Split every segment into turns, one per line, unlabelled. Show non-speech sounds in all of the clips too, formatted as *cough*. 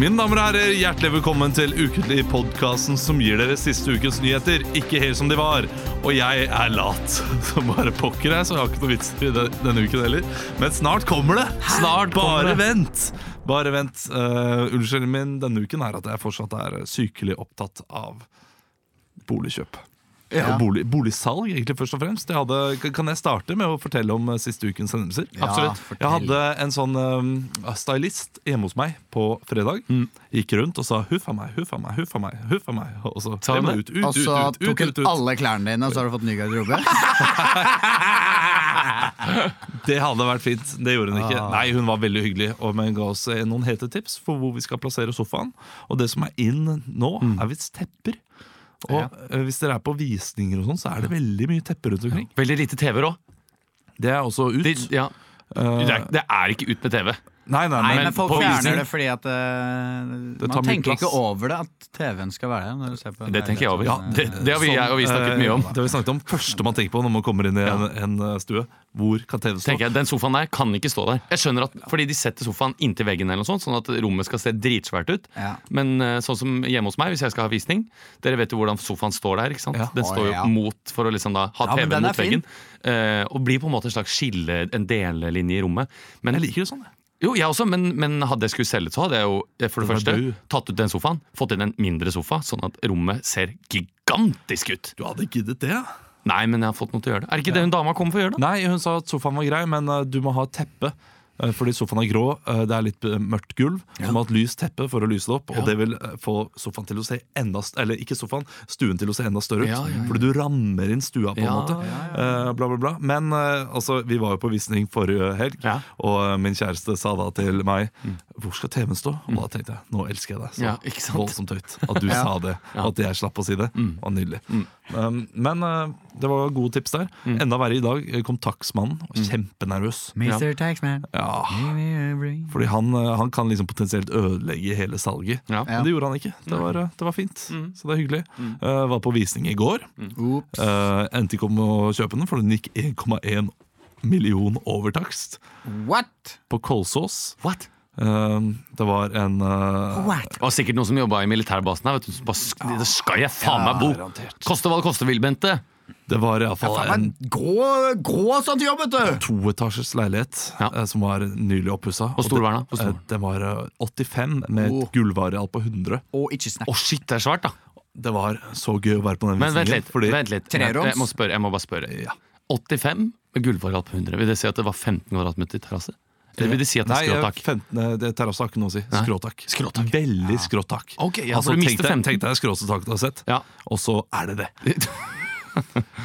Mine damer og herrer, hjertelig velkommen til ukentlig podkasten som gir dere siste ukens nyheter, ikke helt som de var. Og jeg er lat *laughs* som bare pokker, jeg, så jeg har ikke noe vits i det denne uken heller. Men snart kommer det!
Snart kommer
bare
det.
vent! Bare vent. Uh, Unnskyldningen min denne uken er at jeg fortsatt er sykelig opptatt av boligkjøp. Og bolig, boligsalg, egentlig, først og fremst. Jeg hadde, kan jeg starte med å fortelle om eh, siste ukens hendelser?
Ja, Absolutt. fortell.
Jeg hadde en sånn eh, stylist hjemme hos meg på fredag. Gikk rundt og sa 'huff a meg, huff a meg, huff a meg'. Huff a meg. Og så
Sa han
det? Ut, ut,
Og
ut, ut,
så Altså, tok
ut,
hun
ut, ut.
alle klærne dine, og så har du fått ny *laughs* garderobe.
Det hadde vært fint. Det gjorde hun ikke. Nei, Hun var veldig hyggelig og men ga oss eh, noen hete tips for hvor vi skal plassere sofaen. Og det som er inn nå, er visst tepper. Og eh, hvis dere er på visninger, og sånn, så er det veldig mye tepper rundt omkring.
Veldig lite TV-er òg.
Det er også ut.
Det, ja.
Eh.
det, er- det er ikke ut med TV.
Nei, nei,
Nei,
men
Men folk
på
fjerner
visning-
det fordi at eh,
Det tar
Man
mye
tenker ikke
plass.
over det, at TV-en skal være der. Når du ser på en
Det tenker jeg over.
leilighet.
det, det har vi,
Som,
jeg og vi snakket
eh,
mye om.
Det har vi snakket om Første man tenker på når man kommer inn i en, en eh, stue. Hvor kan TV stå?
Tenker jeg, Den sofaen der kan ikke stå der. Jeg skjønner at, Fordi de setter sofaen inntil veggen, eller noe sånt, sånn at rommet skal se dritsvært ut.
Ja.
Men eh, sånn som hjemme hos meg, hvis jeg skal ha visning Dere vet jo hvordan sofaen står der. ikke sant?
Ja.
Å,
Den står jo
ja.
mot for å liksom da ha
Ja, men
TV-en
den er
mot
fin.
veggen. eh, og blir på en måte en slags skille, en delelinje i rommet. Men,
Jeg liker det sånn. jeg.
jo, jeg også, men, men hadde jeg skulle selge, så hadde jeg jo eh, for det
Den er
første
død.
tatt ut den sofaen, fått inn en mindre sofa, sånn at rommet ser gigantisk ut.
Du hadde giddet det? ja.
Nei, men jeg har fått noe til å gjøre det. Er det ikke det hun dama kom for å gjøre, da?
Nei, hun sa at sofaen var grei, men eh, du må ha teppe. eh, Fordi sofaen er grå, eh, det er litt eh, mørkt gulv. Du må ha et lyst teppe for å lyse det opp. Og det vil eh, få sofaen til å se enda st- Eller ikke sofaen, stuen til å se enda større ut.
Ja, ja, ja.
Fordi du rammer inn stua, på en
Ja,
måte. Eh, Bla, bla, bla. Men eh, altså, vi var jo på visning forrige helg,
Ja. Mm.
og eh, min kjæreste sa da til meg Hvor skal TV-en stå? Og da tenkte jeg nå elsker jeg deg. Så
Ja, ikke sant?
voldsomt høyt. At du sa det, og at jeg slapp å si det. Var nydelig. Um, men eh, det var gode tips der. Enda verre i dag eh, kom taksmannen. og Kjempenervøs.
Mr. Taxman.
Ja,
give me a break.
fordi han, eh, han kan liksom potensielt ødelegge hele salget.
Ja.
Men det gjorde han ikke. Det var, eh, det var fint. Så det er hyggelig. Eh, var på visning i går.
Ops.
Eh, endte ikke om å kjøpe den, for den gikk 1,1 million over takst.
What?
På Kolsås.
What?
Eh, det var en eh,
What?
Det var sikkert noen som jobba i militærbasen her. Vet du, som bare, sk- det skal jeg faen meg bo! Koste hva det koste vil, Bente.
Det var iallfall
Faen,
en
men gå, gå sånn til jobb, vet du!
toetasjes leilighet
Ja.
eh, som var nylig oppussa.
Hvor stor var den da? Hvor stor var den?
Den var eh, 85 med et
Oh.
gulvareal på 100.
Og ikke snakk.
Å, shit, det er svært, da.
Det var så gøy å være på den
Men vent
visningen.
litt.
fordi
vent litt. Jeg,
Treroms?
jeg, må spørre, jeg må bare spørre.
Ja.
85 med gulvareal på 100. Vil det si at det var 15 kvadratmeter terrasse? Eller vil det si at det
Nei,
er
eh,
skråtak?
15, eh, det terrasse har ikke noe å si. Skråtak.
Skråtak.
Veldig skråtak.
Ok, ja,
altså,
for du
tenk,
mister
deg,
15.
tenk deg det skråeste taket du har sett,
Ja.
og så er det *laughs* det.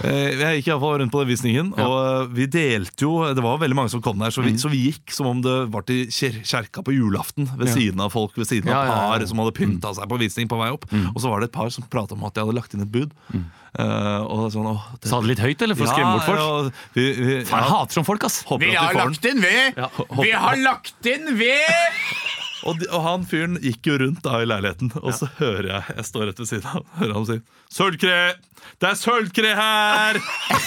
Eh, Jeg gikk i hvert fall rundt på den visningen,
Ja. Mm.
og eh, vi delte jo Det var veldig mange som kom der, så vi, så vi gikk som om det var til kjer kjerka på julaften. Ved siden av folk, ved siden
Ja,
av
ja, ja, Mm. ja.
par som hadde pynta seg på visning på vei opp. Og så var det et par som prata om at de hadde lagt inn et bud. Eh, og sånn, åh, det,
Sa det litt høyt, eller? Mm. For å skremme bort folk?
Ja, vi, vi,
Faen, jeg
ja,
hater sånne folk, ass!
håper at de får den.
inn ved!
Vi har
lagt inn ved!
Og, de, og han fyren gikk jo rundt da i leiligheten, og så hører jeg Jeg står rett ved siden av *laughs* hører han si 'Sølvkre! Det er sølvkre her!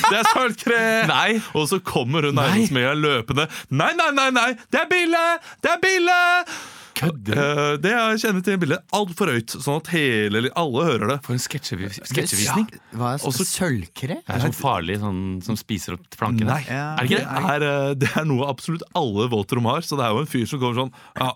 Det er sølvkre!'
*laughs* Nei.
Og så kommer hun eiendomsmeia løpende. 'Nei, nei, nei, nei! Det er Bille! Det er Bille!'
Kødder du?
Eh, det jeg kjenner til bildet, altfor høyt, sånn at hele, alle hører det.
For en sketsjevis- sketsjevisning.
Hva er
Også-
sølvkre?
Det er sånn farlig sånn, som spiser opp plankene.
Nei,
Ja.
Er det ikke det?
er, eh, det er noe absolutt alle våtrom har, så det er jo en fyr som kommer sånn ja,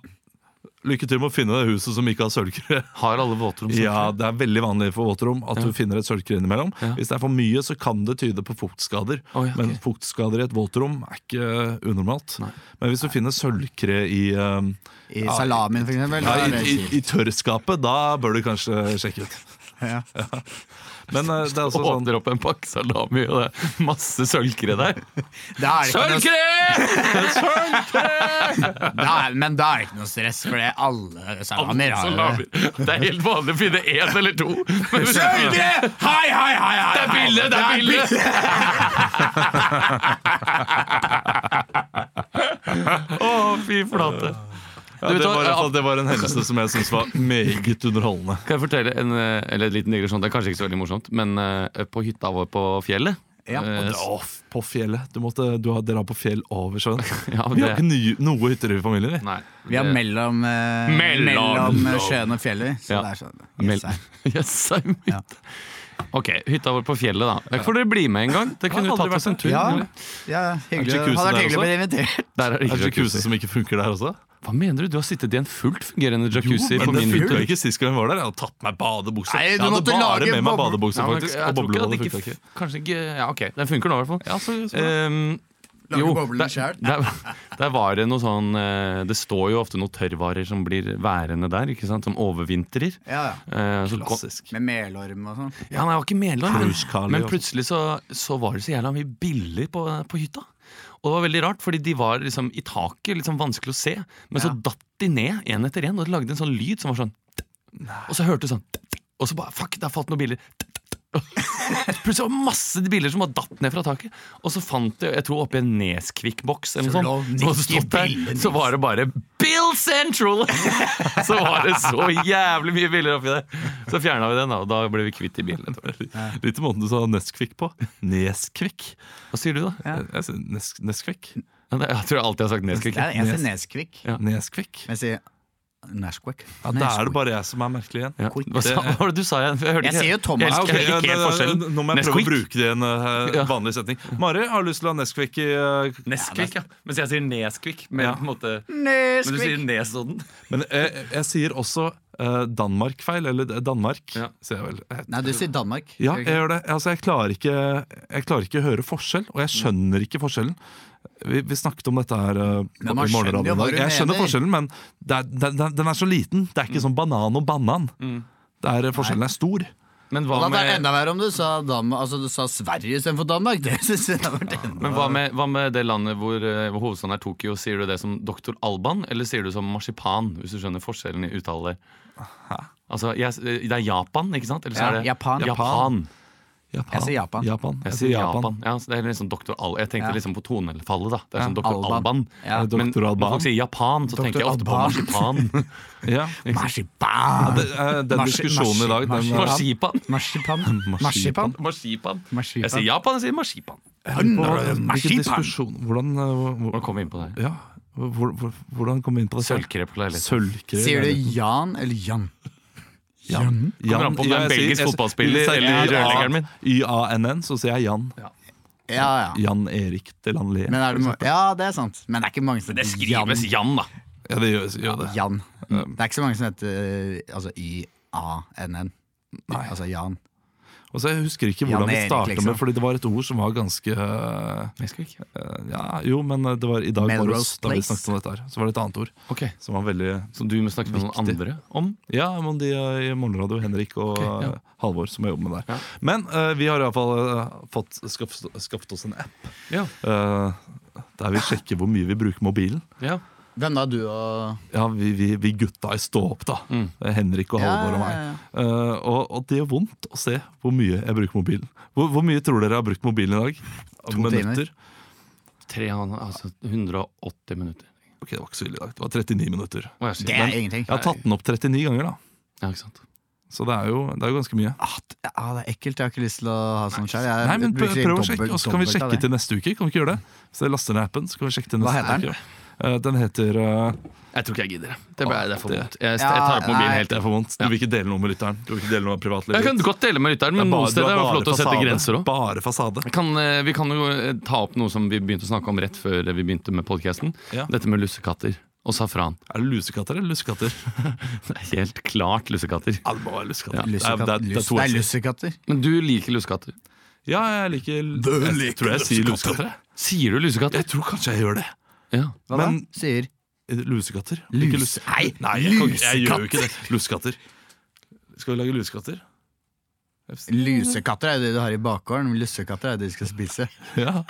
'Lykke til med å finne det huset som ikke har sølvkre'.
Har alle våtrom som
Ja, det er veldig vanlig for våtrom at du finner et sølvkre innimellom.
Ja.
Hvis det er for mye, så kan det tyde på fuktskader.
Oi, ok.
Men fuktskader i et våtrom er ikke unormalt.
Nei.
Men hvis du finner sølvkre i, um,
I salamien, for eksempel?
ja,
da
i,
er det
i,
kjipt.
i tørrskapet, da bør du kanskje sjekke ut.
Ja.
Men eh, det er også sånn
åpner opp en pakke salami, og det er masse sølvkre der.
Da er det ikke noe-
Sølvkre!
Da er- Men da er det ikke noe stress, for det er alle salamier har det.
Det er helt vanlig å finne én eller to. Men hvis-
Sølvkre! Hei, hei, hei! hei,
Det er billig, det er billig! *laughs* Å, fy flate.
ja,
Du vet
det,
hva,
var, i hvert
ja.
fall- det var en hendelse som jeg syns var meget
*laughs*
underholdende.
Kan jeg fortelle en, eh, eller et liten digresjon? Det er kanskje ikke så veldig morsomt, men eh, på hytta vår på fjellet
Ja, og
Eh,
Det- Å, f- på fjellet. Du måtte, du har, dere har på fjell over
*laughs*
sjøen.
Ja,
Vi har
det-
ikke nye, noe hytter i familien, vi.
Nei.
Vi er
det-
mellom, eh,
Mellom-
mellom, eh, sjøen og fjellet. Så
Ja.
det er sånn.
Mel-
Yes, sir.
*laughs* Yes, I'm it.
Ja.
Ok, hytta vår på fjellet, da. Der får dere bli med en gang. Det kunne
Ja,
jo
hadde
tatt oss
vært
en
en
tur.
tur.
ja, ja, hyggelig.
jacuzzi
Hadde vært
der
hyggelig å bli invitert.
Der er
Er
det ikke
det jacuzzi
jacuzzi.
som ikke funker der også?
Hva mener du? Du har sittet i en fullt fungerende jacuzzi
Jo,
på
men det
min
funka
hytte.
ikke sist gang jeg var der. Jeg hadde tatt meg badebukse.
Nei,
jeg
du
hadde
måtte
bare
lage
med meg
boble-
badebukse,
Ja, men
faktisk. Og
jeg tror ikke
boblebad
at det
funka
ikke,
ikke.
kanskje ikke Ja, ok, den funker nå i hvert fall.
Ja, så, så.
Ehm,
Lager
jo,
boblen
der,
selv.
der, der var det noe sånn eh, Det står jo ofte noen tørrvarer som blir værende der, ikke sant, som overvintrer.
Ja, ja.
Eh, så kom-
Klassisk.
Med melorm og sånn.
Ja, nei, jeg var ikke medlem,
Cruise-Carly
men, men
og sånn.
plutselig så, så var det så jævla mye biller på, på hytta. Og det var veldig rart, fordi de var liksom i taket, litt sånn vanskelig å se. Men så
Ja.
datt de ned én etter én, og det lagde en sånn lyd som var sånn Og så hørte du sånn Og så bare Fuck, det har falt noen biller. *laughs* Plutselig var det masse biller som bare datt ned fra taket. Og så fant jeg, jeg tror oppi en Neskvikk-boks eller
Så
noe
lå
sånt, som hadde
Nicky
stått der,
Bille
så var det bare Bill Central! *laughs* så var det så jævlig mye biller oppi der. Så fjerna vi den, da, og da ble vi kvitt de bilene.
Litt i måten du sa Nesquik på. Neskvik.
Hva sier du, da?
Ja.
Jeg sier Nes Neskvik.
Ja, det- Jeg tror jeg alltid har sagt Nesquik.
Jeg jeg sier Neskvik.
Ja.
Neskvik.
Men jeg sier Nashquik.
Ja, da er det bare jeg som er merkelig igjen.
Ja. Hva, sa, hva var det du sa igjen? For Jeg, hørte
Jeg
ikke-
sier jo Thomas.
Jeg
Ja,
elsker-
ok,
jeg
ja,
ikke helt
da-
forskjellen.
Nå må jeg prøve å
Nesquik.
bruke det i en eh,
Ja.
vanlig setning. Mari har lyst til å ha Nesquik i eh,
Nesquik, ja. Mens jeg sier Neskvik. Men,
Ja.
på en måte, men du sier
Neskvik.
Nesodden.
Men jeg, jeg sier også eh, Danmark feil, eller eh, Danmark,
Ja.
sier jeg vel.
Nei, du sier Danmark.
Ja,
Gjør
jeg
du ikke?
gjør det. Altså, jeg, klarer ikke, jeg klarer ikke å høre forskjell, og jeg skjønner ikke forskjellen. Vi, vi snakket om dette her eh,
Men
på-
man
i
skjønner jo
morgenradioen.
hva
i dag.
du
Jeg skjønner
mener. Mm.
forskjellen, men det er, den, den- den er så liten. Det er ikke sånn banan og banan. Det er, eh, forskjellen er stor.
Men
Og
hva
da er det
med,
enda verre om du sa, Danmark, altså, du sa Sverige istedenfor Danmark. *laughs* Det synes jeg hadde vært enda
men hva med, hva med det landet hvor, eh, hvor hovedstaden er Tokyo? Sier du det som Dr. Alban, eller sier du som marsipan? Hvis du skjønner forskjellen i uttale. Altså, jeg, det er Japan, ikke sant? Eller så
Ja,
er det
Japan.
Japan.
Japan.
Jeg sier Japan.
Jeg sier Japan. Ja, så det er liksom Dr. Al jeg tenkte
Ja.
liksom på tonefallet. da Det er
Ja,
som Dr.
Alban.
Alban.
Ja.
Dr.
Men når
Alban.
folk sier Japan, så tenker jeg ofte på
Alban. *laughs*
marsipan.
Ja.
Marsipan!
Det, eh, den
Marsi-
diskusjonen i dag den,
marsi- marsi-
Marsipan.
Marsipan. Marsipan.
Marsipan.
Marsipan.
Jeg sier Japan, jeg sier marsipan.
Hvilken
Marsipan.
diskusjon Hvordan, eh, hvor-
Nå kom vi inn på det her.
ja, hvor, hvor, hvordan kom vi inn på det?
Sølvkrepp på leiligheten.
Sølvkre.
Sier du Jan eller Jan? Jan.
Kommer an på om det er en belgisk fotballspiller eller rørleggeren min.
YANN, så sier jeg Jan.
Ja, ja.
Jan Erik Delanlé.
Men er det, mo- ja, det er sant. Men det er ikke mange som
Det skrives Jan, da.
Ja, det gjør, gjør det.
Jan. Det er ikke så mange som heter altså, Y-A-N-N. Altså Jan.
Og så Jeg husker ikke
Jan
hvordan vi
Erik,
starta
liksom.
med, fordi det var et ord som var ganske øh, øh, Ja, jo, men øh, det var i dag morges
Melrose
da vi
Place.
snakket om dette her. Så var det et annet ord
Ok,
som var veldig
Så du må snakke med noen andre om?
Ja, men de øh, i Morgenradio, Henrik og
Ok, ja.
øh, Halvor, som jeg jobber med der.
Ja.
Men øh, vi har iallfall uh, fått skaffet, skaffet oss en app
Ja.
øh, der vi sjekker hvor mye vi bruker mobilen.
ja.
Hvem da, du og
Ja, vi, vi, vi gutta i Stå opp, da. Henrik og
Ja,
Halvor og
ja,
meg.
ja.
Eh, og, og det gjør vondt å se hvor mye jeg bruker mobilen. Hvor, hvor mye tror dere jeg har brukt mobilen i dag?
To
Minutter?
Tre, altså 180 minutter.
Ok, det var ikke så ille i dag. Det var 39 minutter.
Å, jeg sier
Det er ingenting.
Jeg har tatt den opp 39 ganger, da.
Ja, ikke sant.
Så det er jo, det er jo ganske mye.
Ah, det, ah, det er ekkelt. Jeg har ikke lyst til å ha sånn sjøl.
Nei, men prøv, prøv å sjekke, og så kan vi sjekke til neste uke. Kan vi ikke gjøre det? Så jeg laster ned appen, så kan vi sjekke til
Hva
neste
heter den?
uke. Eh, den heter eh,
Jeg tror ikke jeg gidder det. Det, ble, det er for
Det-
vondt. Jeg, jeg tar opp mobilen
nei.
helt.
Det er for vondt. Du vil ikke dele noe med lytteren. Du vil ikke dele noe med privatlivet.
Jeg kan godt dele med lytteren,
Det er
men noen
bare- du
steder
har
er det
bare
flott å sette
fasade.
grenser òg.
Bare fasade.
Kan, eh, vi kan jo eh, ta opp noe som vi begynte å snakke om rett før vi begynte med podkasten.
Ja.
Dette med lussekatter og safran.
Er det lusekatter eller lussekatter?
*laughs* Det er helt klart lussekatter.
Ja, det må være lussekatter. Det er- det er- det er to
Det er
S-er.
lussekatter.
Men du liker lussekatter.
Ja, jeg liker
Du
jeg
liker
tror jeg sier lusekatter.
lussekatter.
jeg.
Sier du lussekatter?
Jeg tror kanskje jeg gjør det.
Ja.
Hva da?
Men-
Sier
Lusekatter?
Lus-
Ikke lus-
Nei,
Nei jeg, kan, jeg gjør
lusekatter.
jo ikke det. Lusekatter. Skal vi lage lusekatter?
Lusekatter er jo det du har i bakgården. men Lussekatter er det de skal spise.
Ja.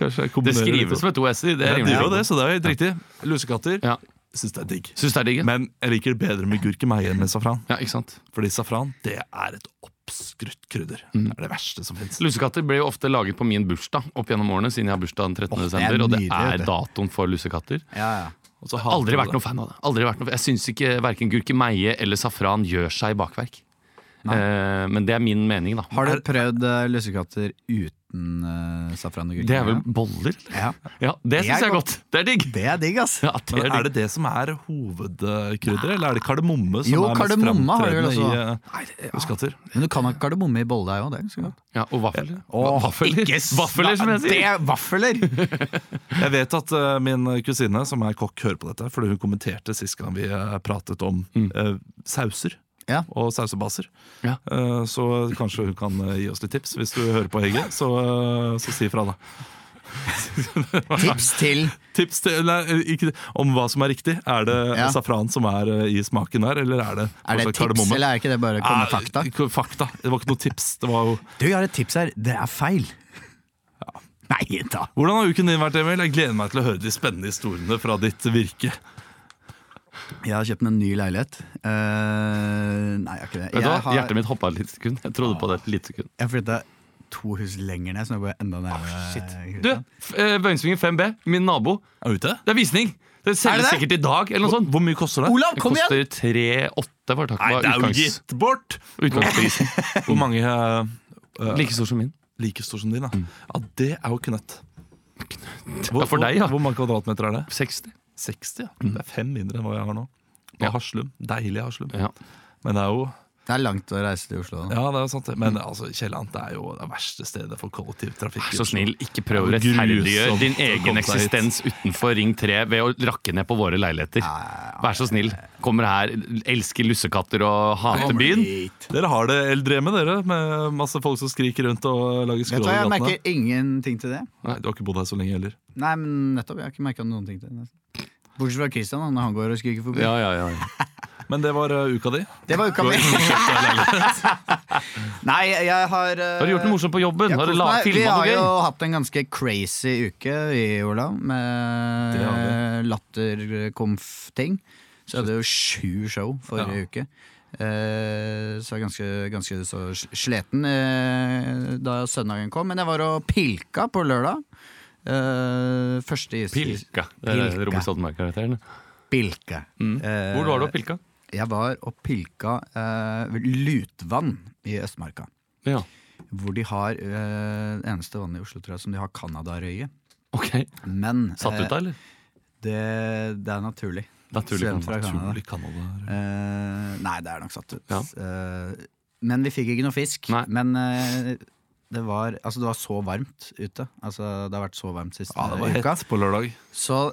Kanskje jeg
Det
kombinerer
skrives med to s-er. Det
det
er
gjør jo
rimelig.
det, så det er jo helt riktig. Lusekatter
Ja.
syns det er digg.
Syns det er digg? ja?
Men jeg liker det bedre med gurkemeie enn med safran.
Ja, ikke sant?
Fordi safran det er et oppskrutt krydder.
Mm.
Det er det verste som fins.
Lussekatter ble jo ofte laget på min bursdag opp gjennom årene, siden jeg har bursdag den 13.
Åh, det er
desember, og det
nydelig,
er
det.
datoen for lussekatter.
Ja, ja.
Aldri vært noen fan av det. Aldri vært noen, jeg syns ikke verken gurkemeie eller safran gjør seg i bakverk. Eh, men det er min mening, da.
Har du prøvd eh, lussekatter uten uten eh, safran og gurke.
Det er vel boller? eller?
ja.
Ja, det
Det
syns
er
jeg er godt. Det er digg.
Det er digg, ass.
Ja, det
Men
er
Er
digg.
det det som er hovedkrydderet, eller er det kardemomme som
Jo,
er mest
kardemomme har de vel
fremtredende i
også.
eh, skatter?
Men du kan ha kardemomme i bolle òg, det er ganske godt.
Ja, og vafler.
Åh,
vafler.
ikke s-
Vafler, som jeg
Det
sier.
er vafler!
Jeg vet at eh, min kusine, som er kokk, hører på dette, fordi hun kommenterte sist gang vi eh, pratet om eh, sauser.
Ja.
Og sausebaser.
Mm. Ja.
Eh, så kanskje hun kan eh, gi oss litt tips. Hvis du hører på Hege, så, eh, så si ifra, da.
Tips til
Tips til, nei, eh, ikke, om hva som er riktig. Er det
Ja.
safran som er eh, i smaken her, eller er det,
Er det
altså,
tips, eller er ikke det bare å
Ah,
komme med fakta?
Eh, k- fakta. Det var ikke noe tips. Det var jo
Du, jeg har et tips her. Det er feil. Nei da.
Hvordan har uken din vært, Emil? Jeg gleder meg til å høre de spennende historiene fra ditt virke.
Jeg har kjøpt meg en ny leilighet. Eh, nei, jeg har ikke det.
Vet du
Jeg
hva?
har,
Hjertet mitt hoppa et lite sekund. Jeg trodde på det et lite sekund.
jeg har flytta to hus lenger ned, så nå går jeg enda nærmere.
Ah, Du, f- eh, Vøyensvingen 5B, min nabo.
Er du ute?
Det er visning! Det selges
det det?
sikkert i dag, eller noe sånt.
Hvor mye koster det?
Olav,
Det
kom igjen!
koster 3,8 var
Nei, det er jo
utgangs,
gitt bort!
utgangsprisen.
Hvor mange eh, eh,
Like stor som min.
like stor som din? Da? Ja, det er jo knøtt.
Ja, for deg, ja.
Hvor mange kvadratmeter er det?
60.
60, ja. Det er fem mindre enn hva jeg har nå. På
Ja.
Haslum. Deilig Haslum.
Ja.
Men det er jo
Det er langt å reise til Oslo. da.
Ja, det er jo sant. det. Men altså, Kjelland det er jo det verste stedet for kollektivtrafikk.
Vær så snill, ikke prøv å
Det er jo
rettferdiggjøre
grusomt
din
å
egen
komme seg hit.
eksistens utenfor Ring 3 ved å rakke ned på våre leiligheter. Vær så snill. Kommer her, elsker lussekatter og hater byen.
Vet
Dere har det eldre med dere, med masse folk som skriker rundt og lager
du
skrål
hva,
i
jeg
gatene.
merker ingenting til det.
Nei, Du har ikke bodd her så lenge heller.
Nei, men nettopp. Jeg har ikke merka noen ting til det. nesten. Bortsett fra Christian, han- han går og skriker forbi.
Ja, ja, ja.
Men det var eh, uka di.
Det var uka
*laughs*
mi! Nei, jeg har eh,
Har du gjort noe morsomt på jobben?
jeg
Har du
koser
la,
meg. Vi
filmet
har
noe
jo
gøy?
hatt en ganske crazy uke, vi, Olav, med
Det har
latterkomf-ting. Så hadde jeg jo sju show forrige
Ja.
uke. Eh, så jeg var ganske, ganske så sl- sliten eh, da søndagen kom. Men jeg var og pilka på lørdag. Eh, første is...
Pilka. Det er
Pilka.
Robert Stoltenberg-karakteren.
Pilke. Eh,
Mm. Hvor var du og pilka?
Jeg var og pilka eh, ved lutvann i Østmarka.
Ja.
Hvor de har eh, det eneste vannet i Oslo tror jeg, som de har Canadarøye.
Ok.
Men
Satt
eh,
ut da, eller?
det, det er naturlig.
Naturlig
Student fra Canada.
Utrolig Canada.
Eh, nei, det er nok satt ut.
Ja.
Eh, men vi fikk ikke noe fisk.
Nei.
Men eh, det, var, altså, det var så varmt ute. Altså, det har vært så varmt siste
Ja, det var
uka.
hett på lørdag.
Så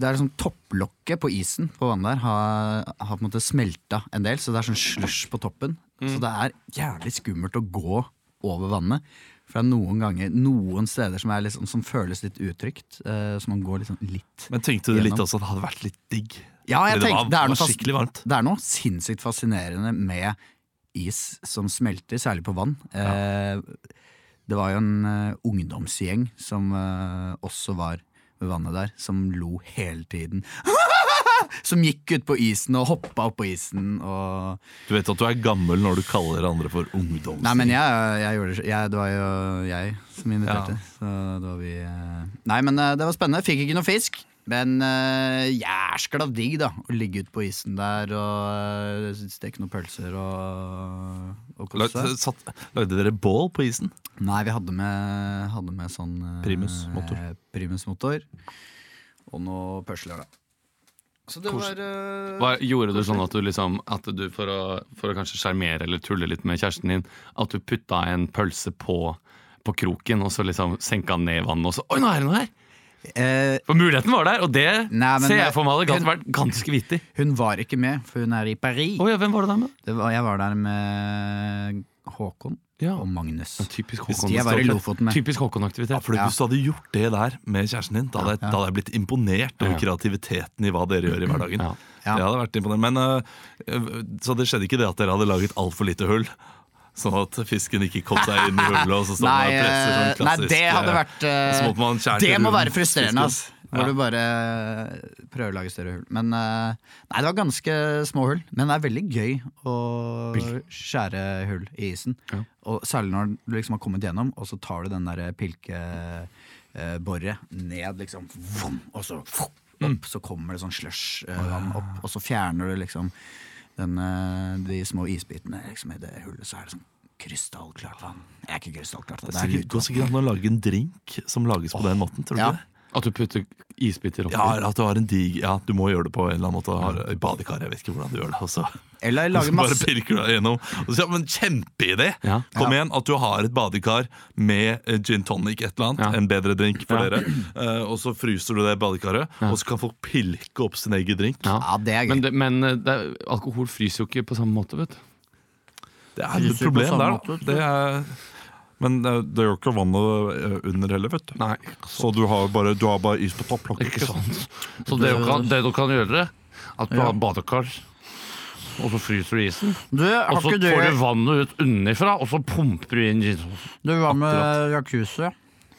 det er sånn topplokket på isen på vannet der har, har på en måte smelta en del, så det er sånn slush på toppen.
Mm.
Så det er jævlig skummelt å gå over vannet. For det er noen ganger, noen steder som, er liksom, som føles litt utrygt. eh, så man går liksom litt
Men tenkte du litt
Gjennom.
også at det hadde vært litt digg?
Ja,
Fordi
jeg
det
tenkte,
var,
det, er noe
var
fas,
skikkelig varmt.
det er noe sinnssykt fascinerende med is som smelter, særlig på vann. Eh, det var jo en eh, ungdomsgjeng som eh, også var ved vannet der, som lo hele tiden. *laughs* som gikk ut på isen og hoppa opp på isen og
Du vet at du er gammel når du kaller andre for ungdoms...
Nei, men jeg, jeg gjorde det sj- jeg, Det var jo jeg som inviterte. Så det var vi eh. Nei, men eh, det var spennende. Fikk ikke noe fisk. Men uh, jæskla digg, da. Å ligge ute på isen der og eh, steke noen pølser og, og kose
Lagde,
seg.
satt, lagde dere bål på isen?
Nei, vi hadde med, hadde med sånn eh,
Primusmotor.
Primusmotor. Og noen pølser, da. Så det var eh,
Hva, gjorde du sånn at du liksom at du for, å, for å kanskje sjarmere eller tulle litt med kjæresten din, at du putta en pølse på, på kroken, og så liksom senka den ned i vannet, og så Oi, nå er det noe her!
eh,
For muligheten var der, og det
Nei, men-
ser jeg for meg hadde gans- vært ganske vittig.
Hun var ikke med, for hun er i Paris.
Oi, ja, hvem var det der med?
Det var, jeg var der med Håkon
Ja.
og Magnus.
Typisk
De jeg var i
Håkon.
Lofoten med.
Typisk Håkon-aktivitet.
Ja, fordi
Ja.
Hvis du hadde gjort det der med kjæresten din, da hadde, jeg- da hadde jeg blitt imponert over
Ja.
kreativiteten i hva dere gjør i hverdagen.
Ja.
Ja.
Det hadde vært imponerende. Men, øh, så det skjedde ikke det at dere hadde laget altfor lite hull? Sånn at fisken ikke kom seg inn i hullet? Og så
*laughs*
stod
Nei,
man og presser sånn
eh, nei,
klassisk,
det hadde
eh,
vært eh,
så måtte man skjære
Det
til
må
hunden.
være frustrerende, ass. Hvor
Ja.
du bare prøver å lage større hull. Men eh, Nei, det var ganske små hull. Men det er veldig gøy å skjære hull i isen.
Ja.
Og særlig når du liksom har kommet gjennom, og så tar du den der pilkeboret ned, liksom. Vom, og så opp,
Mm.
så kommer det sånn slush-vann opp, eh, og så fjerner du liksom den, eh, de små isbitene liksom, i det hullet. Så er det sånn Krystallklart vann. Det er ikke krystallklart vann.
Det
Det
er
er
sikkert, går
lutevann.
sikkert an å lage en drink som lages på den måten. tror du
ja.
ikke det?
At du putter isbiter oppi.
Ja, eller at du har en dig Ja, du må gjøre det på en eller annen måte. Har, I badekar, jeg vet ikke hvordan du gjør det. Også.
Eller lage
Bare
masse
pirker deg gjennom. Og så, ja, men Kjempeidé!
Ja.
Kom igjen, at du har et badekar med eh, gin tonic, et eller annet.
Ja.
En bedre drink for
Ja.
dere. Eh, og så fryser du det badekaret, og så kan folk pilke opp sin egen drink.
Ja.
Ja, det er gøy.
Men, det, men eh, det, er- alkohol fryser jo ikke på samme måte, vet du.
Det er et
Fryser på
problem
samme
der, da.
måte,
Det er, men eh, det er- det er jo ikke vannet eh, under heller, vet du.
Nei,
Så du har bare, du har bare is på topp.
det er ikke sånn. Så det dere kan, det dere kan gjøre, at du har badekar, og så fryser du isen.
Du, har
Og så
ikke du,
får du vannet ut unnifra, og så pumper du inn gin.
du var med jacuzzi.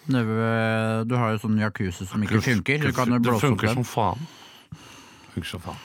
Nede ved- Du har jo sånn jacuzzi som ikke funker. Du kan jo
det
blåse opp
funker
den.
som faen. Funker som faen.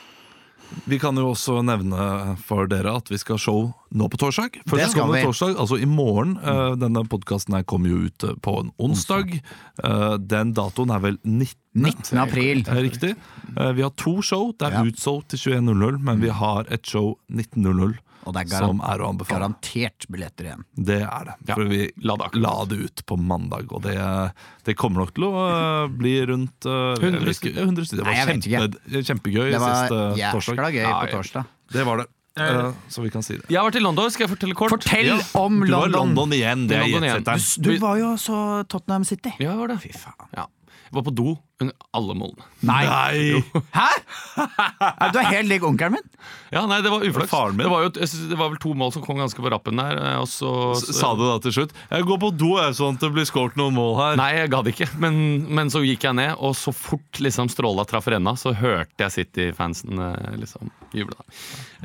Vi kan jo også nevne for dere at vi skal ha show nå på torsdag. Først
skal
kommer
vi.
torsdag, altså i morgen. Eh, Denne podkasten her kommer jo ut eh, på en onsdag. Eh, Den datoen er vel 19.
19. april.
Det er riktig. Eh, Vi har to show. Det er
Ja.
utsolgt til 21.00, men vi har et show 19.00
Og det er
som
garan
er å anbefale.
garantert billetter igjen.
Det er det. For vi la det, ut på mandag, og det, det kommer nok til å eh, bli rundt eh, jeg
100
vet ikke, 100 stykker. Det var
Nei, jeg vet
kjempe, kjempegøy
Det var
sist eh, torsdag.
jæskla gøy
Ja,
på
ja.
torsdag.
Det var det. Eh, så vi kan si det.
Jeg har vært i London, skal jeg fortelle kort?
Fortell
Ja.
om
Du var i
London!
London igjen, det er
London igjen.
gjetsetteren.
Du, du var jo så Tottenham City.
Ja, jeg var det.
Fy faen.
Ja. Jeg var på do under alle målene.
Nei!
Nei!
Hæ?! *laughs* Nei, Du er helt lik onkelen min.
Ja, nei, det var uflaks.
Var det faren min?
Det var, jo, jeg synes det var vel to mål som kom ganske på rappen der, eh, og så
*laughs* S- Sa du da til slutt? Jeg går på do, jeg, sånn at det blir skåret noen mål her.
Nei, jeg gadd ikke, men, men så gikk jeg ned, og så fort liksom stråla traff renna, så hørte jeg City-fansen eh, liksom juble. da. Eh,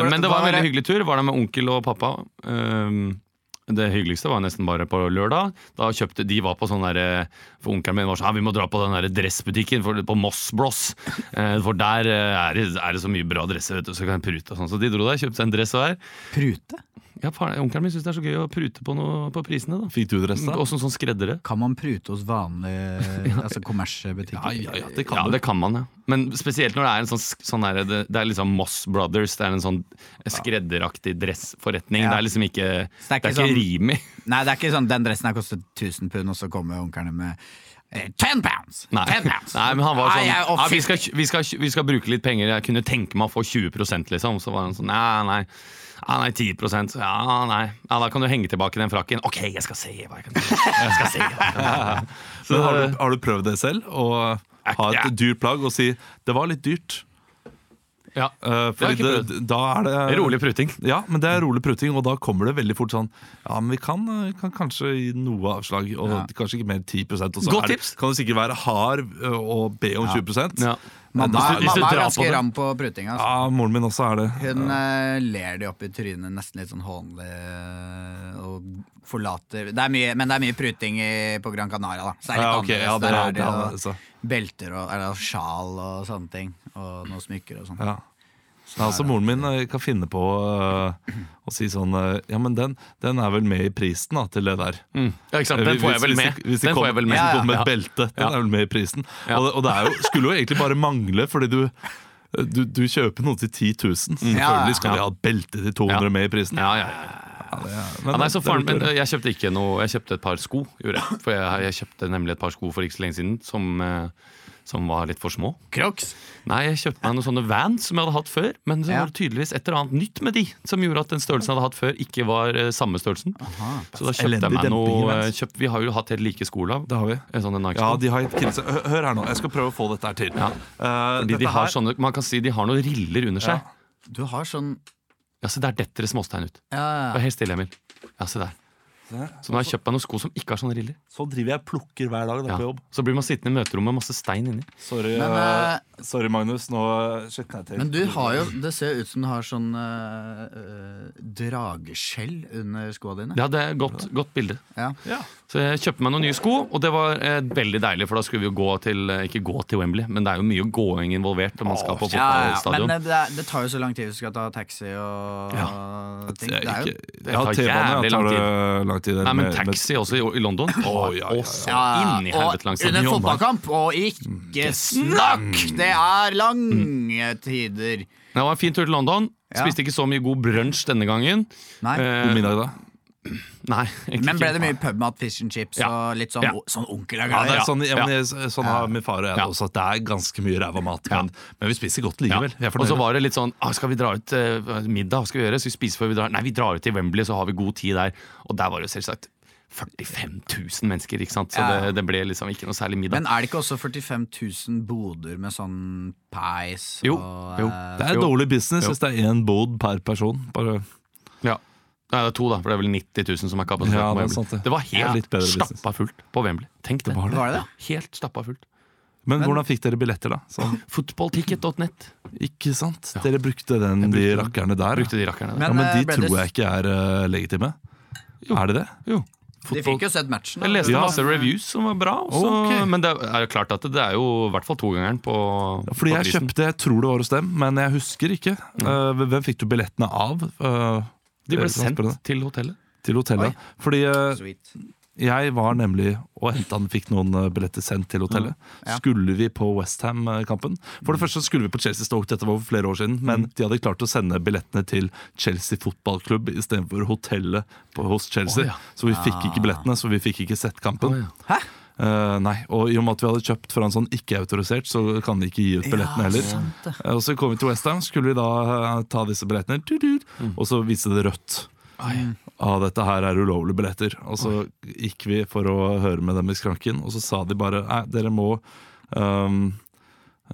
Var det-
men det var
var
en
det-
veldig hyggelig tur. Var der med onkel og pappa. Um, det hyggeligste var nesten bare på lørdag. Da kjøpte, De var på sånn derre For onkelen min var sånn «Ja, Vi må dra på den der dressbutikken for, på Moss Bloss. Eh, For der eh, er det, er det så mye bra dresser, vet du. Så kan jeg prute og sånn. Så de dro der, kjøpte seg en dress hver.
Prute?
Ja, faren- Onkelen min syns det er så gøy å prute på, noe, på prisene, da.
Fikk du dress, da?
Også sånn skreddere.
Kan man prute hos vanlige altså kommersbutikker?
Ja, ja, ja, det
ja,
kan du.
det kan man, ja. Men spesielt når det er en sånn, sånn der, det, det er liksom Moss Brothers. Det er en sånn skredderaktig dressforretning.
Ja.
Det er liksom ikke
Så det er
Det er
ikke
ikke,
sånn-
Rimi.
Nei, det er ikke sånn den dressen her kostet 1000 pund, og så kommer onkelen med eh, 10 pounds!
Nei.
10 pounds!
Nei, men han var sånn
Nei, jeg er off-
ja, vi, skal, vi, skal, vi skal bruke litt penger, jeg kunne tenke meg å få 20 liksom. Så var han sånn Nei, nei. Ja, nei, 10 Ja, nei. Ja, Da kan du henge tilbake den frakken. Ok, jeg skal se hva jeg kan gjøre. *laughs* Jeg skal se hva jeg kan gjøre.
Men har, du, har du prøvd det selv? Å ha
Ja.
et dyrt plagg og si 'det var litt dyrt'?
Ja.
Uh,
Det har jeg
fordi
ikke
det, da er det
Rolig pruting.
Ja, men det er rolig pruting, og da kommer det veldig fort sånn Ja, men vi kan, eh, kan kanskje gi noe avslag, og kanskje ikke mer enn 10 og så
Godt
er det-
tips.
kan du sikkert være hard eh, og be om 20
Ja.
Mamma,
Hvis du- hvis du
mamma er
drar på
ganske
det. sånn,
ram på prutinga. Altså.
Ja, moren min også er det.
Hun eh, ler de opp i trynet, nesten litt sånn hånlig, eh, og forlater det er mye, Men det er mye pruting i, på Gran Canaria, da. Så det er litt
Ja, Ah, ok,
annerledes.
ja, det
Der
er-
er det
det er
jo
annerledes, da.
belter og eller, sjal og sånne ting, og noen smykker og sånn.
Ja. Ja, altså Moren min eh, kan finne på eh, å si sånn eh, Ja, men den, den er vel med i prisen da, til det der.
Mm. ja, ikke sant. Den får jeg vel
Eh, Hvis- hvis
med.
de- Hvis de
Den får
kommer
jeg vel
med,
med.
hvis de kommer med
Ja.
et belte, den
Ja.
er vel med i prisen.
Ja.
Og, det- og det er jo, skulle jo egentlig bare mangle, fordi du du, du kjøper noe til 10 000.
Ja, ja.
Selvfølgelig skal vi ha et belte til 200
Mm. Ja.
med i prisen.
Ja, ja, ja.
Men
Ja, nei, så
det er
faren
litt
min,
dårlig.
jeg kjøpte ikke noe Jeg kjøpte et par sko, gjorde jeg. For jeg, jeg kjøpte nemlig et par sko for ikke så lenge siden som, eh, som var litt for små.
Crocs!
Nei, jeg kjøpte meg noen sånne vans som jeg hadde hatt før. Men så
Ja.
var det tydeligvis et eller annet nytt med de som gjorde at den størrelsen jeg hadde hatt før, ikke var eh, samme størrelsen. Så da kjøpte jeg
altså Elendig
meg
demping i
noe eh,
vans.
kjøpt, Vi har jo hatt helt like sko, Lav.
Det har vi.
Eh, Sånne Nike-sko.
Ja, de har gitt krise. Hør, hør her nå, jeg skal prøve å få dette her til.
Ja.
Eh,
Fordi
dette
de har sånn-
her-
sånne, man kan si de har noen riller under seg. Ja,
Du har sånn
så Der detter det småstein ut.
ja,
Vær helt stille, Emil. Ja, se der. Så nå har jeg kjøpt meg noen sko som ikke har sånne riller.
Så driver jeg og plukker hver dag da,
Ja.
på jobb.
Så blir man sittende i møterommet med masse stein inni.
Sorry,
Men,
eh,
eh,
sorry Magnus, nå skjøtner jeg til.
Men du har jo, det ser ut som du har sånn eh, eh, drageskjell under skoene dine.
Ja, det er et godt, godt bilde.
Ja.
Ja.
Så jeg kjøpte meg noen nye sko, og det var eh, veldig deilig, for da skulle vi jo gå til eh, Ikke gå til Wembley, men det er jo mye gåing involvert når man skal på
Ja, ja, ja.
fotballstadion.
Men eh, det, er- det tar jo så lang tid hvis du skal ta taxi og ting. Det er jo
det
ja,
tar
T-bane
jævlig
ja, tar
lang
det lang tid.
Nei, men
Med- med-
taxi også i, i London. Å,
ja, ja, ja.
så
Ja,
inn i
og
helvete langs
Under
den jobben. Mm.
fotballkamp, og ikke snakk! Det er lange tider.
Det var en fin tur til London.
Ja.
Spiste ikke så mye god brunsj denne gangen.
Nei.
Eh,
God middag, da.
Nei, egentlig
Men ble
ikke.
det mye pubmat, fish and chips
Ja.
og litt sånn,
Ja.
sånn onkel
Ja, det er
Ja.
sånn, ja, men jeg, sånn har min far og jeg det
Ja.
også, at det er ganske mye ræva mat. Men, men vi spiser godt
Ja.
likevel. Vi er
Og så
fornøyde.
var det litt sånn ah, Skal vi dra ut eh, middag? Skal vi gjøre? Skal vi spise før vi drar? Nei, vi drar ut til Wembley, så har vi god tid der. Og der var det jo selvsagt 45 000 mennesker, ikke sant? så
Ja.
det, det ble liksom ikke noe særlig middag.
Men er det ikke også 45 000 boder med sånn pies
Jo,
og
jo.
eh,
Det er
Jo.
dårlig business
Jo.
hvis det er én bod per person. Bare
ja. Nei, det er to, da, for det er vel 90 000 som er kapasitet.
Ja,
på
det er
Wembley.
sant det.
det var
Ja, litt
helt
bedre business.
stappa fullt på Wembley. Tenk det.
var det.
Var det det?
Helt stappa fullt.
Men hvordan fikk dere billetter, da? Sånn.
Footballticket.net
Ikke sant? Dere brukte den,
Jeg brukte
de
den.
rakkerne der.
brukte de rakkerne der.
ja,
Men,
men
eh,
de
ble det-
tror jeg ikke er eh, legitime.
Jo.
Er det det?
Jo.
De fikk jo sett matchen. da.
Jeg leste
Ja.
masse reviews som var bra, og så,
Ok.
men det er jo klart at det er jo i hvert fall togangeren på
Fordi
på
jeg
prisen.
kjøpte, jeg tror det var hos dem, men jeg husker ikke. Eh, hvem fikk du billettene av? Eh,
De
det
ble
er sånn
sendt
spennende.
til hotellet.
til hotellet.
Oi.
Fordi eh,
Sweet.
jeg var nemlig og henta fikk noen eh, billetter sendt til hotellet.
Mm,
Ja.
Skulle vi på Westham-kampen? For det første så skulle vi på Chelsea Stoke, dette var for flere år siden, men
Mm.
de hadde klart å sende billettene til Chelsea fotballklubb istedenfor hotellet på, hos Chelsea.
Å, ja. Ah.
Så vi fikk ikke billettene, så vi fikk ikke sett kampen.
Å, ja.
Eh, nei, og i og med at vi hadde kjøpt fra en sånn ikke-autorisert, så kan de ikke gi ut billettene heller. Eh, og så kom vi til Westham, skulle vi da eh, ta disse billettene, du, du,
Mm.
og så viste det rødt. Ah, dette her er ulovlige billetter. Og så gikk vi for å høre med dem i skranken, og så sa de bare nei, dere må ehm,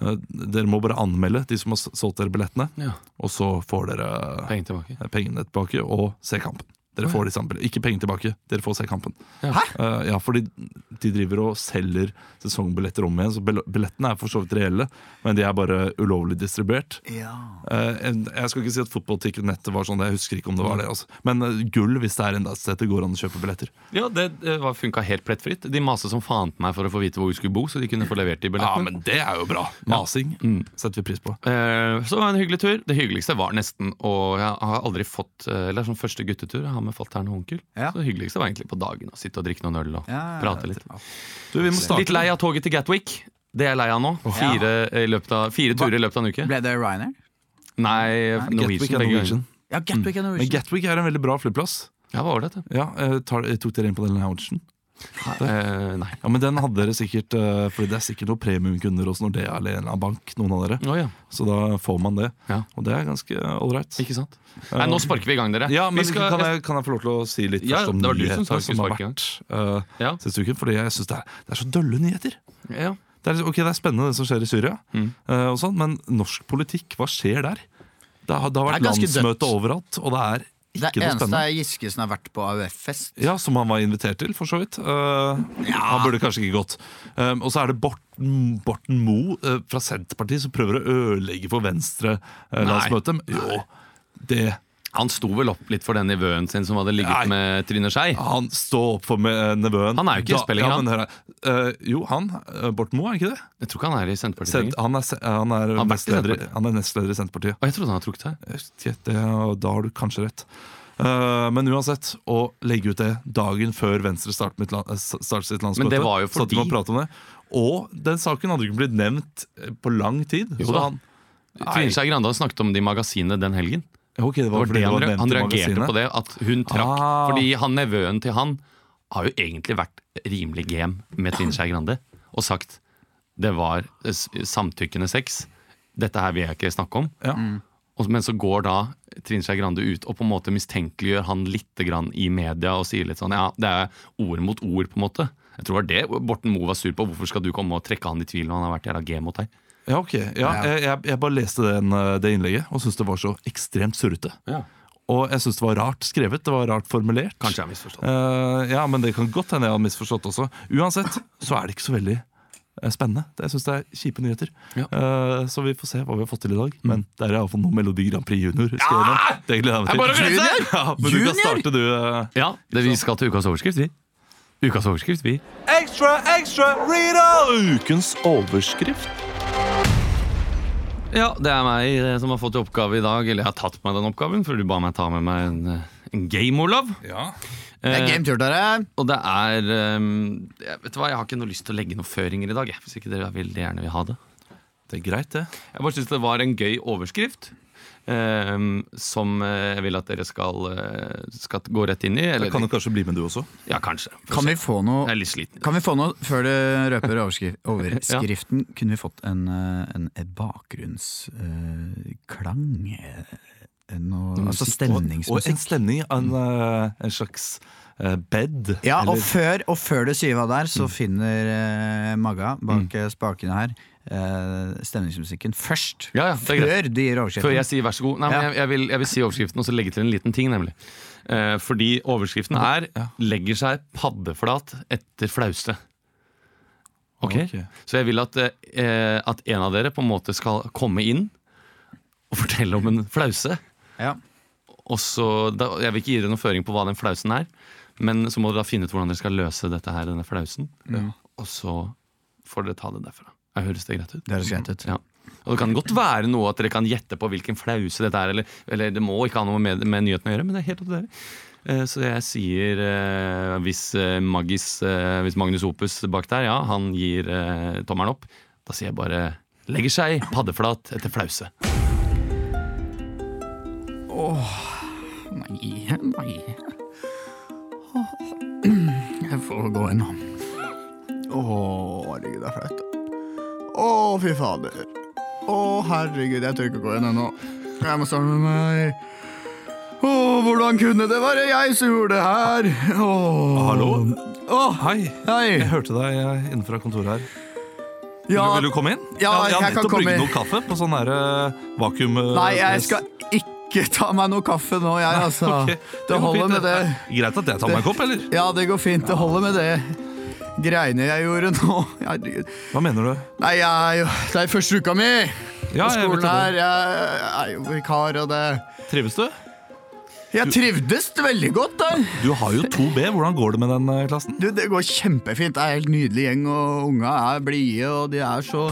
eh, dere må bare anmelde de som har s- solgt dere billettene,
Ja.
og så får dere
Penger tilbake.
pengene tilbake og se kampen. Dere får de samme billettene. Ikke penger tilbake, dere får se kampen.
Ja.
Eh, ja, fordi de driver og selger sesongbilletter om igjen, så bill- billettene er for så vidt reelle, men de er bare ulovlig distribuert.
Ja.
Eh, en- jeg skal ikke si at fotballticketnettet var sånn, jeg husker ikke om det var det. Altså. Men eh, gull hvis det er enda et sted det går an å kjøpe billetter.
Ja, det funka helt plettfritt. De maste som faen til meg for å få vite hvor vi skulle bo, så de kunne få levert de
Ja,
billettene.
men det er jo bra. Masing setter vi pris på.
Eh, Så det var en hyggelig tur. Det hyggeligste var nesten å Jeg har aldri fått eh, Eller sånn første guttetur jeg har med fatter'n og onkel.
Ja.
Så det hyggeligste var egentlig på dagen å sitte og drikke noen øl og
Ja, ja,
prate litt.
Du, vi må starte.
Litt lei av toget til Gatwick. Det er jeg lei av nå. Fire, eh, i løpet av, fire turer i løpet av en uke.
Ble det Ryanair?
Nei,
Gatwick
Norwegian.
er
begge
Norwegian.
ganger.
Ja, Gatwick er
Men
Norwegian.
Gatwick er en veldig bra flyplass.
Ja, hva var det? det?
Ja, eh, tar, Tok dere inn på den loungen?
Eh, nei.
Ja, men den hadde dere sikkert, eh, fordi det er sikkert noen premiumkunder hos Nordea eller en eller annen bank, noen av dere.
Å ja.
Så da får man det.
Ja.
Og det er ganske ålreit.
Ikke sant? Nei, nå sparker vi i gang, dere.
Eh, Ja, men
vi skal,
kan, jeg, kan jeg få lov til å si litt
Ja,
først om
det var du som
nyhetene
sa vi
som
skulle
har
sparke i
vært uh,
Ja.
siste uken? Fordi jeg syns det, er- det er så dølle nyheter.
ja.
Det er, liksom- ok, det er spennende det som skjer i Syria,
Mm.
eh, og sånn, men norsk politikk, hva skjer der? Det har, det har
Det
vært
er ganske
landsmøte
dødt.
overalt, og det er
Det
ikke noe
eneste
spennende.
er Giskesen har vært på AUF-fest.
Ja, Som han var invitert til, for så vidt. Eh, Han burde kanskje ikke gått. Um, og så er det Borten, Borten Moe eh, fra Senterpartiet som prøver å ødelegge for Venstre-landsmøtet. jo, det
Han sto vel opp litt for den nevøen sin som hadde
Nei. Ah.
ligget med Trine Skei.
Han står opp for med eh, nevøen.
Han er jo ikke
Da-
SP lenger,
ja, men hør her. Eh, jo, han. eh, Borten Moe, er han ikke det?
Jeg tror ikke han er i Senterpartiet
Sent,
lenger.
han er, se- han er,
har vært i
nestleder, i-
Senterpartiet.
han er nestleder i Senterpartiet.
Å, jeg trodde han hadde trukket seg.
Jeg vet ikke, Det, og da har du kanskje rett. Eh, men uansett, å legge ut det dagen før Venstre starter, mitt, lan- eh, starter sitt landsmøte
Men det var jo
så at de
fordi-
må prate om det. Og den saken hadde jo ikke blitt nevnt eh, på lang tid.
Jo
så
da.
han,
Trine Skei Grande hadde snakket om det i magasinet den helgen.
Ok, det
Det
var,
var
fordi
det
det
han,
var
re-
nevnt
han
i
reagerte
magasinet.
på det, at hun trakk.
Ah.
Fordi han nevøen til han har jo egentlig vært rimelig game med Trine Skei Grande og sagt det var eh, s- samtykkende sex. Dette her vil jeg ikke snakke om.
Ja.
Og- Men så går da Trine Skei Grande ut og på en måte mistenkeliggjør han litt grann i media og sier litt sånn ja, det er ord mot ord, på en måte. Jeg tror det var det Borten Moe var sur på. Hvorfor skal du komme og trekke han i tvil når han har vært jævla gay mot deg?
Ja, ok. Ja, jeg- Jeg, jeg bare leste den, eh, det innlegget og syntes det var så ekstremt surrete. Og jeg syns det var rart skrevet, det var rart formulert.
Kanskje jeg har misforstått.
Eh, ja, men det kan godt hende jeg har misforstått også. Uansett så er det ikke så veldig eh, spennende. Det- Jeg syns det er kjipe nyheter.
Ja.
Eh, så vi får se hva vi har fått til i dag. Men det er iallfall noe Melodi Grand Prix Junior. Skal gjennom. Det gleder jeg
Jeg bare
meg til.
grenser!
Ja, men du kan
Junior?
starte, du. eh.
Ja, det, vi skal til ukas overskrift, vi. Ukas overskrift, vi.
Ekstra, ekstra, Rita! Ukens overskrift.
Ja, det er meg eh, som har fått i oppgave i dag. Eller jeg har tatt på meg den oppgaven, for du ba meg ta med meg en, eh, en game, Olav.
Ja.
Det er
Eh,
game tur, dere!
Og det er ehm, jeg, Vet du hva, jeg har ikke noe lyst til å legge noen føringer i dag, jeg, hvis ikke dere veldig gjerne vil ha det.
Det er greit, det.
Jeg bare syns det var en gøy overskrift. eh, som eh, jeg vil at dere skal, eh, skal gå rett inn i.
Da
Eller,
kan du kanskje bli med, du også.
ja, kanskje.
Kan vi få noe
Jeg er litt sliten.
Kan vi få noe, før du røper overskri- overskriften, kunne vi fått en, eh, en eh, bakgrunnsklang? eh, noe, altså
Og, og en
stemningsmusikk.
stemning, en, eh, en slags eh, bed.
Ja, og
eller-
før, og før du sier hva det er, så finner eh, Magga bak eh, spakene her eh, stemningsmusikken først.
Ja, ja, det er greit.
Før du gir
Før
overskriften.
jeg sier vær så god. Nei, men
Ja.
jeg, jeg, vil, jeg vil si overskriften og så legge til en liten ting, nemlig. Eh, fordi overskriften er 'Legger seg paddeflat etter flauste'. Ok?
Ok.
Så jeg vil at, eh, at en av dere på en måte skal komme inn og fortelle om en flause.
Ja.
Og så, da, jeg vil ikke gi dere noen føring på hva den flausen er, men så må dere da finne ut hvordan dere skal løse dette her, denne flausen.
Mm.
Og så får dere ta det derfra. Jeg høres det greit ut?
Det høres greit ut.
Ja. Og det kan godt være noe at dere kan gjette på hvilken flause dette er, eller, eller det må ikke ha noe med, med nyheten å gjøre, men det er helt opp til dere. Eh, Så jeg sier eh, hvis, eh, Maggis, eh, hvis Magnus Opus bak der, ja, han gir eh, tommelen opp, da sier jeg bare legger seg paddeflat etter flause.
Nei, nei. Jeg får gå inn nå.
Å, herregud, det er flaut. Å, fy fader. Å, herregud, jeg tør ikke gå igjen ennå. Jeg må samle meg. Å, hvordan kunne det være jeg som gjorde det her? Å,
Hallo?
Å,
Hei, jeg
hei.
hørte deg eh, innenfra kontoret her.
Ja,
Vil du komme inn? jeg
Ja,
har
jeg kan
nettopp
komme
brygget
inn.
noe kaffe på sånn her eh, vakuum... eh,
nei, jeg
*laughs*
skal ikke ta meg noe kaffe nå, jeg, altså.
Ok,
Det
går
holder
fint,
med det.
Greit at jeg tar meg en kopp, eller?
Ja, det går fint. Det holder med det. Greiene jeg gjorde nå. Herregud.
Hva mener du?
Nei, jeg er jo Det er første uka mi
Ja, jeg
på
vet
skolen
det.
her. Jeg er jo vikar, og det
Trives du?
Jeg trivdes veldig godt der.
Du har jo 2B. Hvordan går det med den eh, klassen?
Du, det går kjempefint. Det er helt nydelig gjeng, og unga er blide, og de er så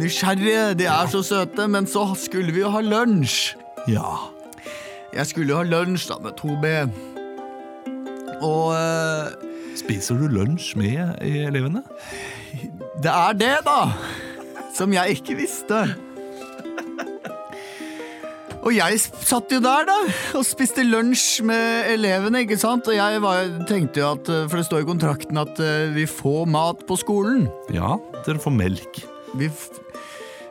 nysgjerrige. De er så søte. Men så skulle vi jo ha lunsj.
Ja.
Jeg skulle jo ha lunsj da med 2B. Og eh,
Spiser du lunsj med eh, elevene?
det er det, da! Som jeg ikke visste. Og jeg s- satt jo der, da, og spiste lunsj med elevene, ikke sant? Og jeg var, tenkte jo at eh, For det står i kontrakten at eh, vi får mat på skolen.
Ja, dere får melk.
Vi, f-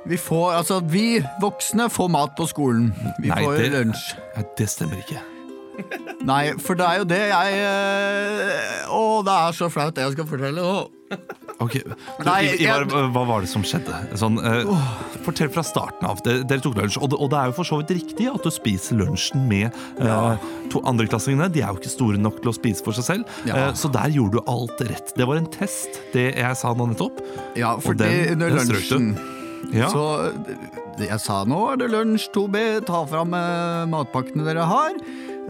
vi får Altså, vi voksne får mat på skolen. Vi
Nei,
får
det-
lunsj.
Ja, det stemmer ikke.
Nei, for det er jo det jeg eh, Å, det er så flaut, det jeg skal fortelle. Å,
Ok, du,
Nei,
I-
jeg-
Ivar, eh, hva var det som skjedde? Sånn, eh, fortell fra starten av. Dere, dere tok lunsj, og det, og det er jo for så vidt riktig at du spiser lunsjen med eh, to andreklassingene. De er jo ikke store nok til å spise for seg selv,
Ja.
eh, så der gjorde du alt rett. Det var en test, det jeg sa nå nettopp.
ja, fordi
den-
under
den strøk du.
lunsjen
Ja.
Så eh, jeg sa nå er det lunsj, 2B, ta fram eh, matpakkene dere har.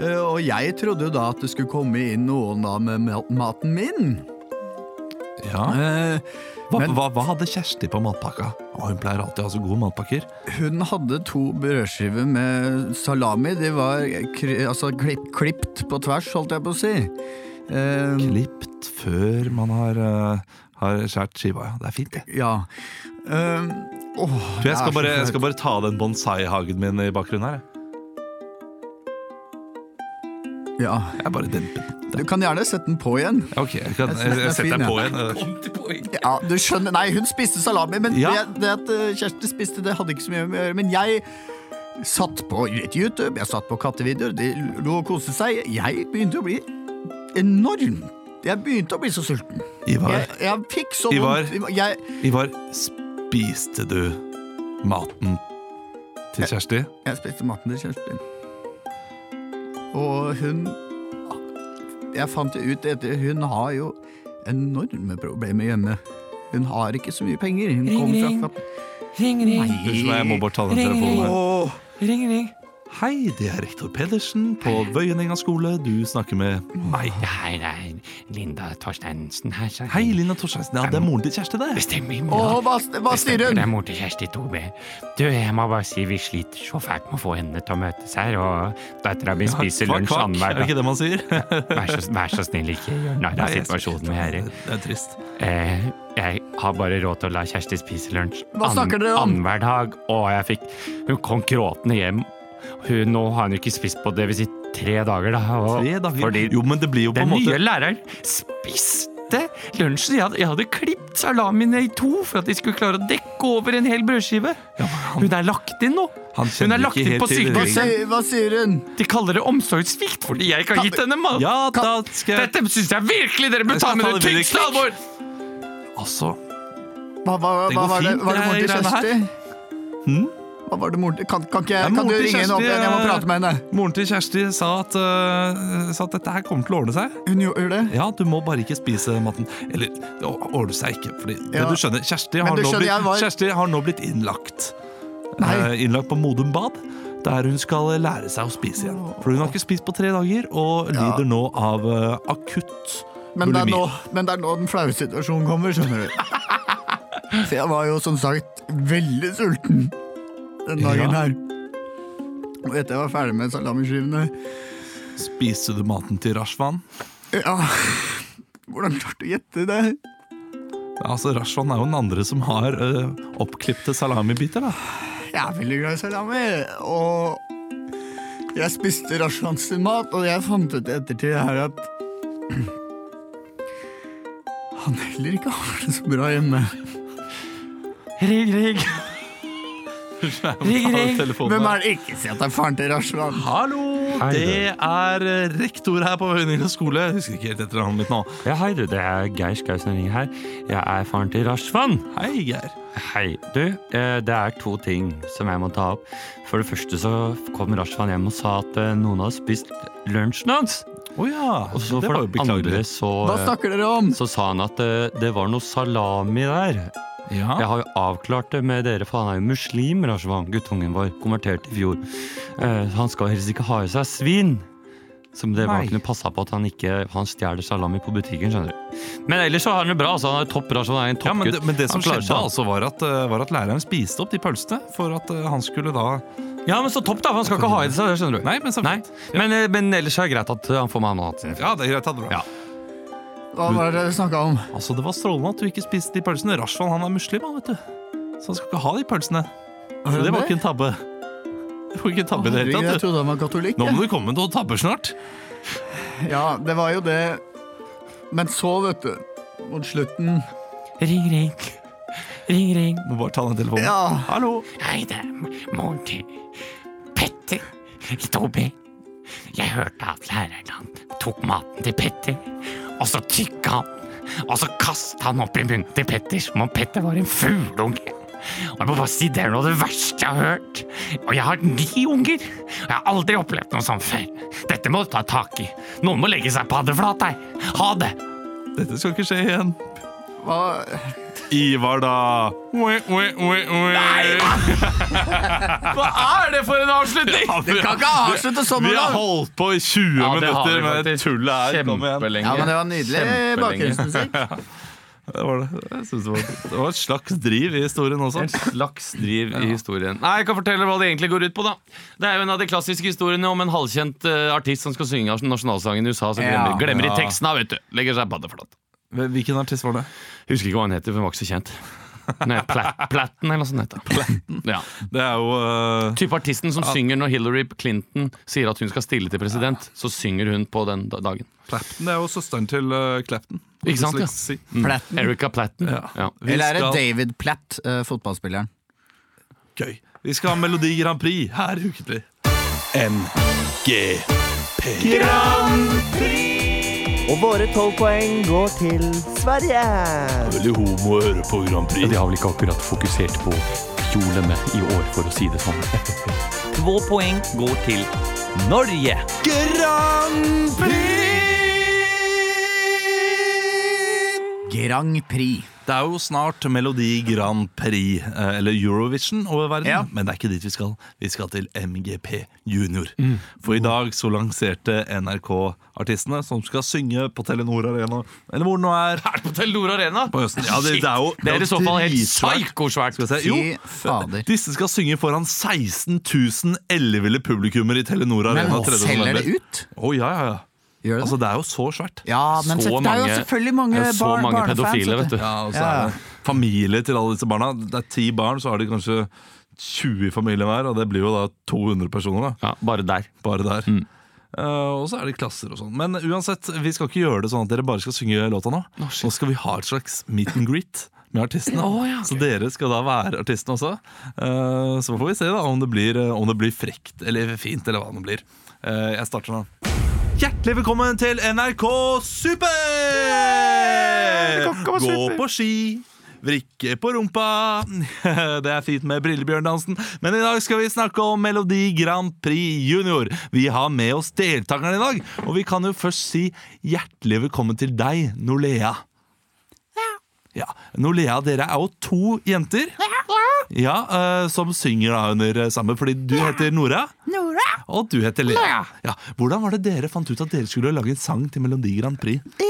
Eh, Og jeg trodde jo da at det skulle komme inn noen da med ma- maten min.
ja. Ah.
Eh,
Hva,
men-
hva, hva hadde Kjersti på matpakka? Å, hun pleier alltid å ha så gode matpakker.
Hun hadde to brødskiver med salami. De var kri altså klipp, klipt på tvers, holdt jeg på å si. Eh,
Klippt før man har, eh, har skjært skiva. Ja, det er fint, det.
ja. Eh, åh,
Du,
det
jeg,
er
skal
så
bare, jeg
flaut.
skal bare ta den bonsai-hagen min i bakgrunnen her. jeg.
ja.
Jeg bare demper den.
Du kan gjerne sette den på igjen.
Ok, jeg, kan,
Jeg synes
jeg,
den er
jeg setter
fin,
deg på igjen.
Ja, du skjønner, Nei, hun spiste salami, men
Ja.
det, det at eh, Kjersti spiste, det hadde ikke så mye med å gjøre. Men jeg satt på litt YouTube, jeg satt på kattevideoer, de lå og koste seg. Jeg begynte å bli enorm. Jeg begynte å bli så sulten. Jeg,
Ivar,
jeg fikk så
Ivar.
vondt. Jeg,
Ivar, spiste du maten til Kjersti?
Jeg spiste maten til Kjersti. Og hun Jeg fant jo ut etter Hun har jo enorme problemer hjemme. Hun har ikke så mye penger. Hun
Ring, ring.
kommer fra
Ring, ring,
Unnskyld meg, jeg må bare ta den
Ring, ring,
telefonen her.
Åh,
ring, ring.
Hei, det er rektor Pedersen på Vøyenenga skole. Du snakker med meg.
Hei, det er Linda Torsteinsen her. Så
Hei, Lina Torsteinsen. Ja, det er moren til Kjersti, det.
Stemmer, ja.
åh, hva, hva sier
Det
hun?
er mor til Kjersti Tobe. Du, jeg må bare si vi sliter så fælt med å få henne til å møtes her, og dattera mi spiser
Kvakk,
lunsj
kvakk. Er
annenhver
det
dag.
ikke det man sier?
Vær så, vær så snill, ikke gjør narr
*laughs* Nei,
av
jeg-
situasjonen vi er i.
Det er trist.
Eh, jeg har bare råd til å la Kjersti spise lunsj
Hva snakker dere om?
annenhver dag, og jeg fikk Hun kom gråtende hjem
Hun, nå har hun ikke spist på det vil si tre dager, da. Og
Tre dager.
Fordi
jo, men det blir jo på
den
en måte
nye læreren spiste lunsjen. Jeg hadde, jeg hadde klippet salamine i to for at de skulle klare å dekke over en hel brødskive. Hun er lagt inn nå.
Han
Hun
kjenner
er lagt
ikke
inn
helt
på
til
Hva
reglene.
sykehuset.
sier, hva sier hun?
De kaller det omsorgssvikt fordi jeg ikke har gitt henne mat.
Ja, da skal jeg
Dette syns jeg virkelig dere
Jeg
bør ta
skal
med
ta
det
det videre.
tyngste alvor!
Altså,
Hva, hva,
Det
hva
går
var det,
fint,
var det
det
moren til
greiene her.
Kjersti?
Hm?
Hva var det moren til Kan, kan, ikke,
er
jeg- kan
moren
du
til
ringe henne opp
Kjersti,
igjen? Jeg må
eh,
prate med henne.
Moren til Kjersti sa at, eh, sa at dette her kommer til å ordne seg.
Hun gjorde det.
Ja, du må bare ikke spise maten. Eller, det ordner seg ikke. Fordi,
Ja.
Men du skjønner, Kjersti har,
du
nå,
skjønner, jeg
blitt,
var-
Kjersti har nå blitt innlagt.
Nei.
Eh, innlagt på Modum Bad, der hun skal lære seg å spise igjen. For hun har ikke spist på tre dager, og lider nå av eh, akutt
Men det, er nå,
bulimi.
men det er nå den flaue situasjonen kommer,
*laughs*
skjønner du. Så jeg var jo som sagt veldig sulten den dagen
Ja.
her. Og etter jeg var ferdig med salamiskivene
Spiste du maten til Rashvan?
Ja, *laughs* hvordan klarte du å gjette det?
Altså, Rashvan er jo den andre som har uh, oppklipte salamibiter, da.
Jeg er veldig glad i salami, og jeg spiste Rashans sin mat, og jeg fant ut i ettertid her at han heller ikke har det så bra hjemme.
Rigg, rigg. Rigg, rigg.
Telefonen
Hvem
er-
er det ikke si at det er faren til Rashvan?
Hallo!
Hei,
Det er eh, rektor her på Høyningen skole. Jeg husker ikke helt etter navnet mitt nå.
Ja, hei du, det er Geir Skausen ringer her. Jeg er faren til Rashvan.
Hei, Geir.
Hei. Du, eh, det er to ting som jeg må ta opp. For det første så kom Rashvan hjem og sa at eh, noen hadde spist lunsjen hans.
Å ja.
Og så
det
for
var jo
det andre
beklagelig.
så,
Hva
eh,
snakker dere om?
så sa han at eh, det var noe salami der.
Ja.
Jeg har jo avklart det med dere, for han er jo muslim, Rashvan. Guttungen vår. Konvertert i fjor. Eh, han skal helst ikke ha i seg svin. Som det var
Nei.
kunne passa på at han ikke Han stjeler salami på butikken, skjønner du. Men ellers så har han det bra. Altså, han er topp Rashvan er en
Ja, men,
toppgutt.
det, men det som
Han klarer
skjedde,
seg.
altså var at, eh, var at læreren spiste opp de pølsene for at eh, han skulle da
Ja, men så topp, da! Han skal ikke ha i seg det, skjønner du.
Nei, men så
Nei. Men, eh, men ellers er det greit at han får med noe annet.
Ja, det er greit. ha det bra.
Ja.
Hva var det dere snakka om?
Altså, Det var strålende at du ikke spiste de pølsene. Rashvan han er muslim, han, vet du. Så han skal ikke ha de pølsene. Så det var ikke en tabbe. Det var ikke en tabbe i det hele
Jeg
tatt. du.
trodde han var katolikk.
Nå
jeg.
må du komme med noen tabber snart.
Ja, det var jo det. Men så, vet du, mot slutten
Ring, ring. Ring, ring.
Må bare ta den telefonen.
Ja,
Hallo.
Hei, det er moren til Petter i Tobi. Jeg hørte at læreren han tok maten til Petter, og så tykka han. Og så kasta han opp i munnen til Petter som om Petter var en fugleunge. Og jeg må bare si Det er noe av det verste jeg har hørt. Og jeg har ni unger. Og jeg har aldri opplevd noe sånt før. Dette må du ta tak i. Noen må legge seg paddeflat her. Ha det.
Dette skal ikke skje igjen.
hva
Ivar, da.
Hva er det for en avslutning?!
Det kan ikke avslutte sånn,
Vi har
Olav!
holdt på i 20
Ja, det har vi
minutter med det
faktisk.
tullet her. Kom igjen.
Kjempelenge.
Ja, men det var nydelig
Kjempelenge.
bakgrunnsmusikk.
*laughs* Det var, det. Jeg synes det, var, det var et slags driv i historien også.
En slags driv i historien. Nei, Jeg kan fortelle hva det egentlig går ut på. da Det er jo en av de klassiske historiene om en halvkjent eh, artist som skal synge nasjonalsangen i USA. Så glemmer,
Ja.
glemmer
Ja.
i teksten, da, vet du. Legger seg paddeflat.
Hvilken artist var det?
Husker ikke hva han heter, for han var ikke så kjent. Nei, Pla- Platten eller noe sånt. heter Platten? Ja.
Det er jo eh,
Type artisten som synger når Hillary Clinton sier at hun skal stille til president, så synger hun på den da- dagen.
Clapton. Det er jo søsteren til eh, Clapton.
Ikke sant, ja.
Si. Mm.
Platten.
Erica Platten.
Ja.
Ja.
Vi
Eller er det
skal-
David Platt, eh, fotballspilleren?
Gøy. Vi skal ha Melodi Grand Prix her ukentlig. MGP.
Og våre tolv poeng går til Sverige.
Veldig homo å høre på Grand Prix.
har vel ikke akkurat fokusert på fjolene i år, for å si det sånn.
Två poeng går til Norge.
Grand Prix.
Det er jo snart Melodi Grand Prix, eh, eller Eurovision, over verden.
Ja.
Men det er ikke dit vi skal. Vi skal til MGP Junior. For i dag så lanserte NRK artistene som skal synge på Telenor Arena, eller hvor det nå er.
Er det på Telenor Arena?
På høsten. Ja, det, det er jo
Shit, det er i så fall helt
dritsvært.
psykosvært.
Skal vi se.
Fy
Jo,
fader.
disse skal synge foran 16 000 elleville publikummer i Telenor
Men
Arena. 3.
selger det
november.
ut?
Å ja, ja, ja.
Gjør det
Altså,
det?
det er jo så svært.
Ja, men
så
det er jo
mange-
selvfølgelig mange,
Det er så
barn,
mange
barnefans.
pedofile, vet du.
Ja, og så
Ja.
er det familie til alle disse barna. Det er ti barn, så har de kanskje 20 i familien hver, og det blir jo da 200 personer. da
Ja, bare der.
bare der. Eh, og så er det klasser og sånn. Men uansett, vi skal ikke gjøre det sånn at dere bare skal synge låta nå. nå skal vi ha et slags meet and greet med artistene. Så dere skal da være artistene også. Eh, så får vi se da om det, blir, eh, om det blir frekt eller fint, eller hva det blir. Eh, jeg starter nå. Hjertelig velkommen til NRK Super! Gå på ski, vrikke på rumpa. *laughs* Det er fint med brillebjørndansen, men i dag skal vi snakke om Melodi Grand Prix Junior. Vi har med oss deltakerne i dag, og vi kan jo først si hjertelig velkommen til deg, Nolea. Ja, Nolea, dere er jo to jenter ja, eh, som synger da under eh, sammen, fordi du heter Nora.
Nora,
Og du heter Lea. Ja. Hvordan var det dere fant ut at dere skulle lage en sang til Melodi Grand Prix?
vi,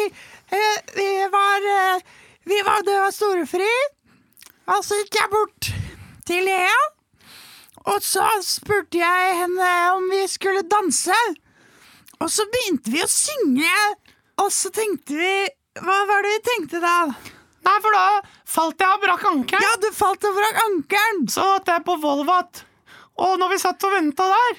eh, vi var eh, Vi var døde av storefri. Og så gikk jeg bort til Lea. Og så spurte jeg henne om vi skulle danse. Og så begynte vi å synge. Og så tenkte vi Hva var det vi tenkte da?
Nei, for da falt jeg og brakk ankelen.
Ja, du falt over av ankelen!
Så satt jeg på Volvat. Og når vi satt og venta der,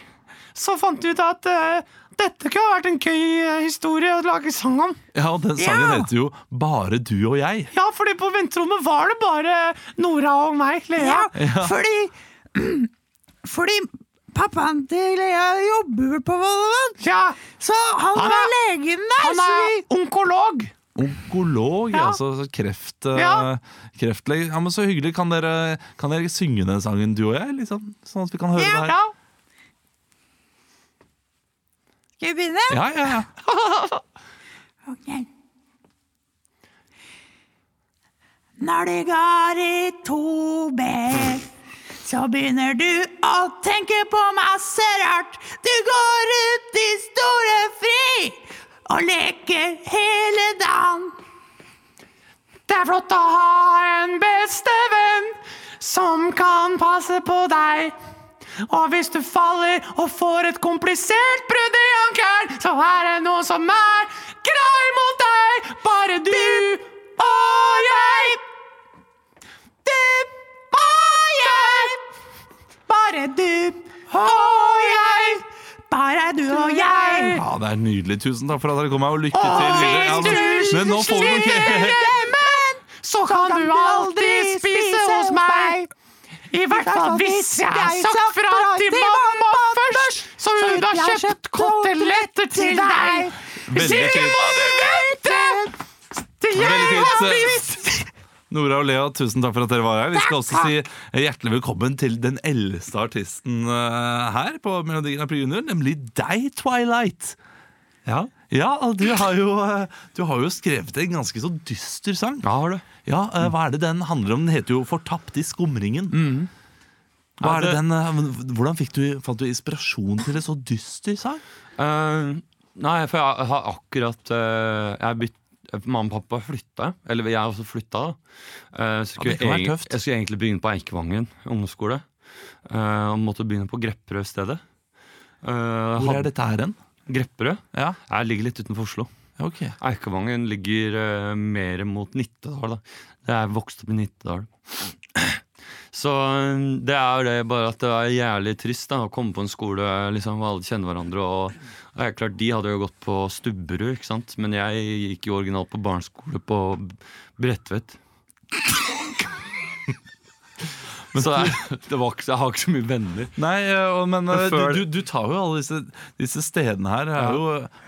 så fant vi ut at eh, dette kunne vært en gøy eh, historie å lage sang om.
Ja, og Den sangen
Ja.
heter jo Bare du og jeg.
Ja, fordi på venterommet var det bare Nora og meg, Lea.
Ja, fordi *clears throat* Fordi pappaen til Lea jobber vel på Vollevann.
Ja,
Så han,
Han
var
er-
legen der.
han
så vi,
er onkolog.
Onkolog,
Ja.
altså kreft,
Ja.
ja. kreftlege. Ja, men Så hyggelig. Kan dere, kan dere synge den sangen, du og jeg? Liksom? Sånn at vi kan høre det her.
Ja.
Skal vi begynne?
Ja, ja, ja.
Ok. Når du går i 2B, så begynner du å tenke på masse rart. Du går ut i store fri og leker hele dagen.
Det er flott å ha en bestevenn som kan passe på deg. Og hvis du faller og får et komplisert brudd i ankelen, så er det noen som er grei mot deg. Bare du og jeg. Du
Bare
og jeg.
du og jeg. Bare du og jeg.
ja, det er nydelig. Tusen takk for at dere kom her, og lykke til. videre. Ja,
Hvis
men,
du
men nå får du
slipper
*laughs* ikke
lemmen, så kan du aldri spise hos meg. I hvert fall hvis jeg har sagt fra til mamma først, så hun har kjøpt koteletter til deg. Hvis
Veldig
ikke
fint.
må du vente til
Veldig
jeg
fint.
har spist.
Nora og Lea, tusen takk for at dere var her. Vi skal også si hjertelig velkommen til den eldste artisten eh, her på Melodi Grand Prix Junior, nemlig deg, Twilight. Ja, og du har, jo, eh, du har jo skrevet en ganske så dyster sang. Ja, har du. eh, Hva er det den handler om? Den heter jo 'Fortapt i skumringen'. Hva
Ja,
er Mm. det
det-
den, eh, hvordan fikk du, fant du inspirasjon til en så dyster sang?
Eh, nei, for jeg har akkurat eh, Jeg bytt, Mamma og pappa flytta, eller jeg har også flytta. da. Eh, så skulle
det kan være
jeg,
tøft.
jeg skulle egentlig begynne på Eikevangen ungdomsskole. eh, og måtte begynne på Grepperød i stedet. Eh,
Hvor
had-
er dette her hen?
Grepperød?
Ja.
Jeg ligger litt utenfor Oslo.
Ok.
Eikevangen ligger eh, mer mot Nittedal. Da. Jeg er vokst opp i Nittedal. *clears throat* Så eh, det er jo det bare at det er jævlig trist da, å komme på en skole liksom, hvor alle kjenner hverandre. Og, og det er klart, De hadde jo gått på Stubberud, ikke sant? men jeg gikk jo originalt på barneskole på Bredtvet. *laughs* Men så er, *laughs* det var ikke, jeg har ikke så mye venner.
Nei, eh, og- men eh,
Men før-
du, du, du tar jo alle disse, disse stedene her. er
Ja.
jo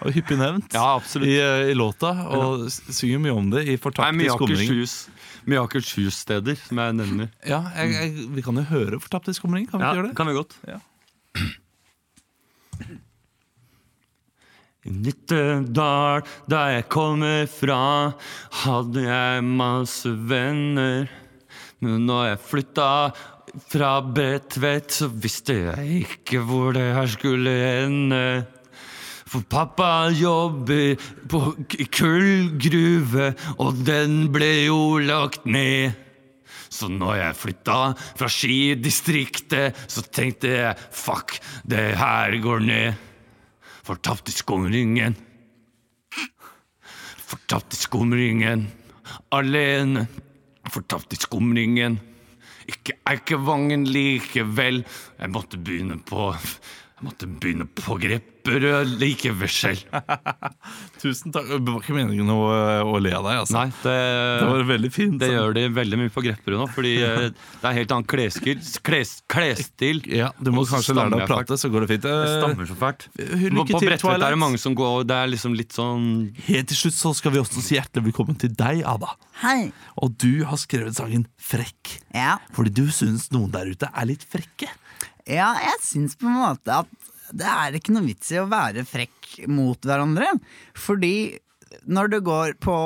eh, hyppig nevnt
Ja, absolutt.
i, eh, i låta, og s- synger mye om det i
Nei,
Fortapt i
mye
skumring.
Akershus- mye Akershus-steder som jeg nevner.
Ja, jeg, jeg, vi kan jo høre Fortapt i skumring, kan vi ikke gjøre det?
kan vi godt.
Ja.
I Nittedal, der jeg kommer fra, hadde jeg masse venner. Men når jeg flytta fra Bredtvet, så visste jeg ikke hvor det her skulle ende. For pappa jobber på k- kullgruve, og den ble jo lagt ned. Så når jeg flytta fra skidistriktet, så tenkte jeg fuck, det her går ned. Fortapt i skumringen. Fortapt i skumringen. Alene. Fortapt i skumringen.
Ikke Eikevangen likevel. Jeg måtte begynne på Jeg måtte begynne på Grepperød likevel selv.
Tusen takk. Det var ikke meningen å, å le av deg, altså.
Nei, det,
Det var veldig fint.
det gjør de veldig mye på Grepperud nå, fordi eh, det er helt annen klesstil. Kles, klesstil.
Ja, Du må
Og så
kanskje lære deg å
stammer jeg
prate, så går det fint.
Jeg
Eh,
stammer så fælt.
Lykke
På
til,
Bredtvet er
Twilight.
det mange som går og Det er liksom litt sånn
Helt til slutt så skal vi også si hjertelig velkommen til deg, Ada.
Hei.
Og du har skrevet sangen 'Frekk'.
Ja.
Fordi du syns noen der ute er litt frekke.
ja, jeg syns på en måte at det er ikke noe vits i å være frekk mot hverandre. Fordi når du går på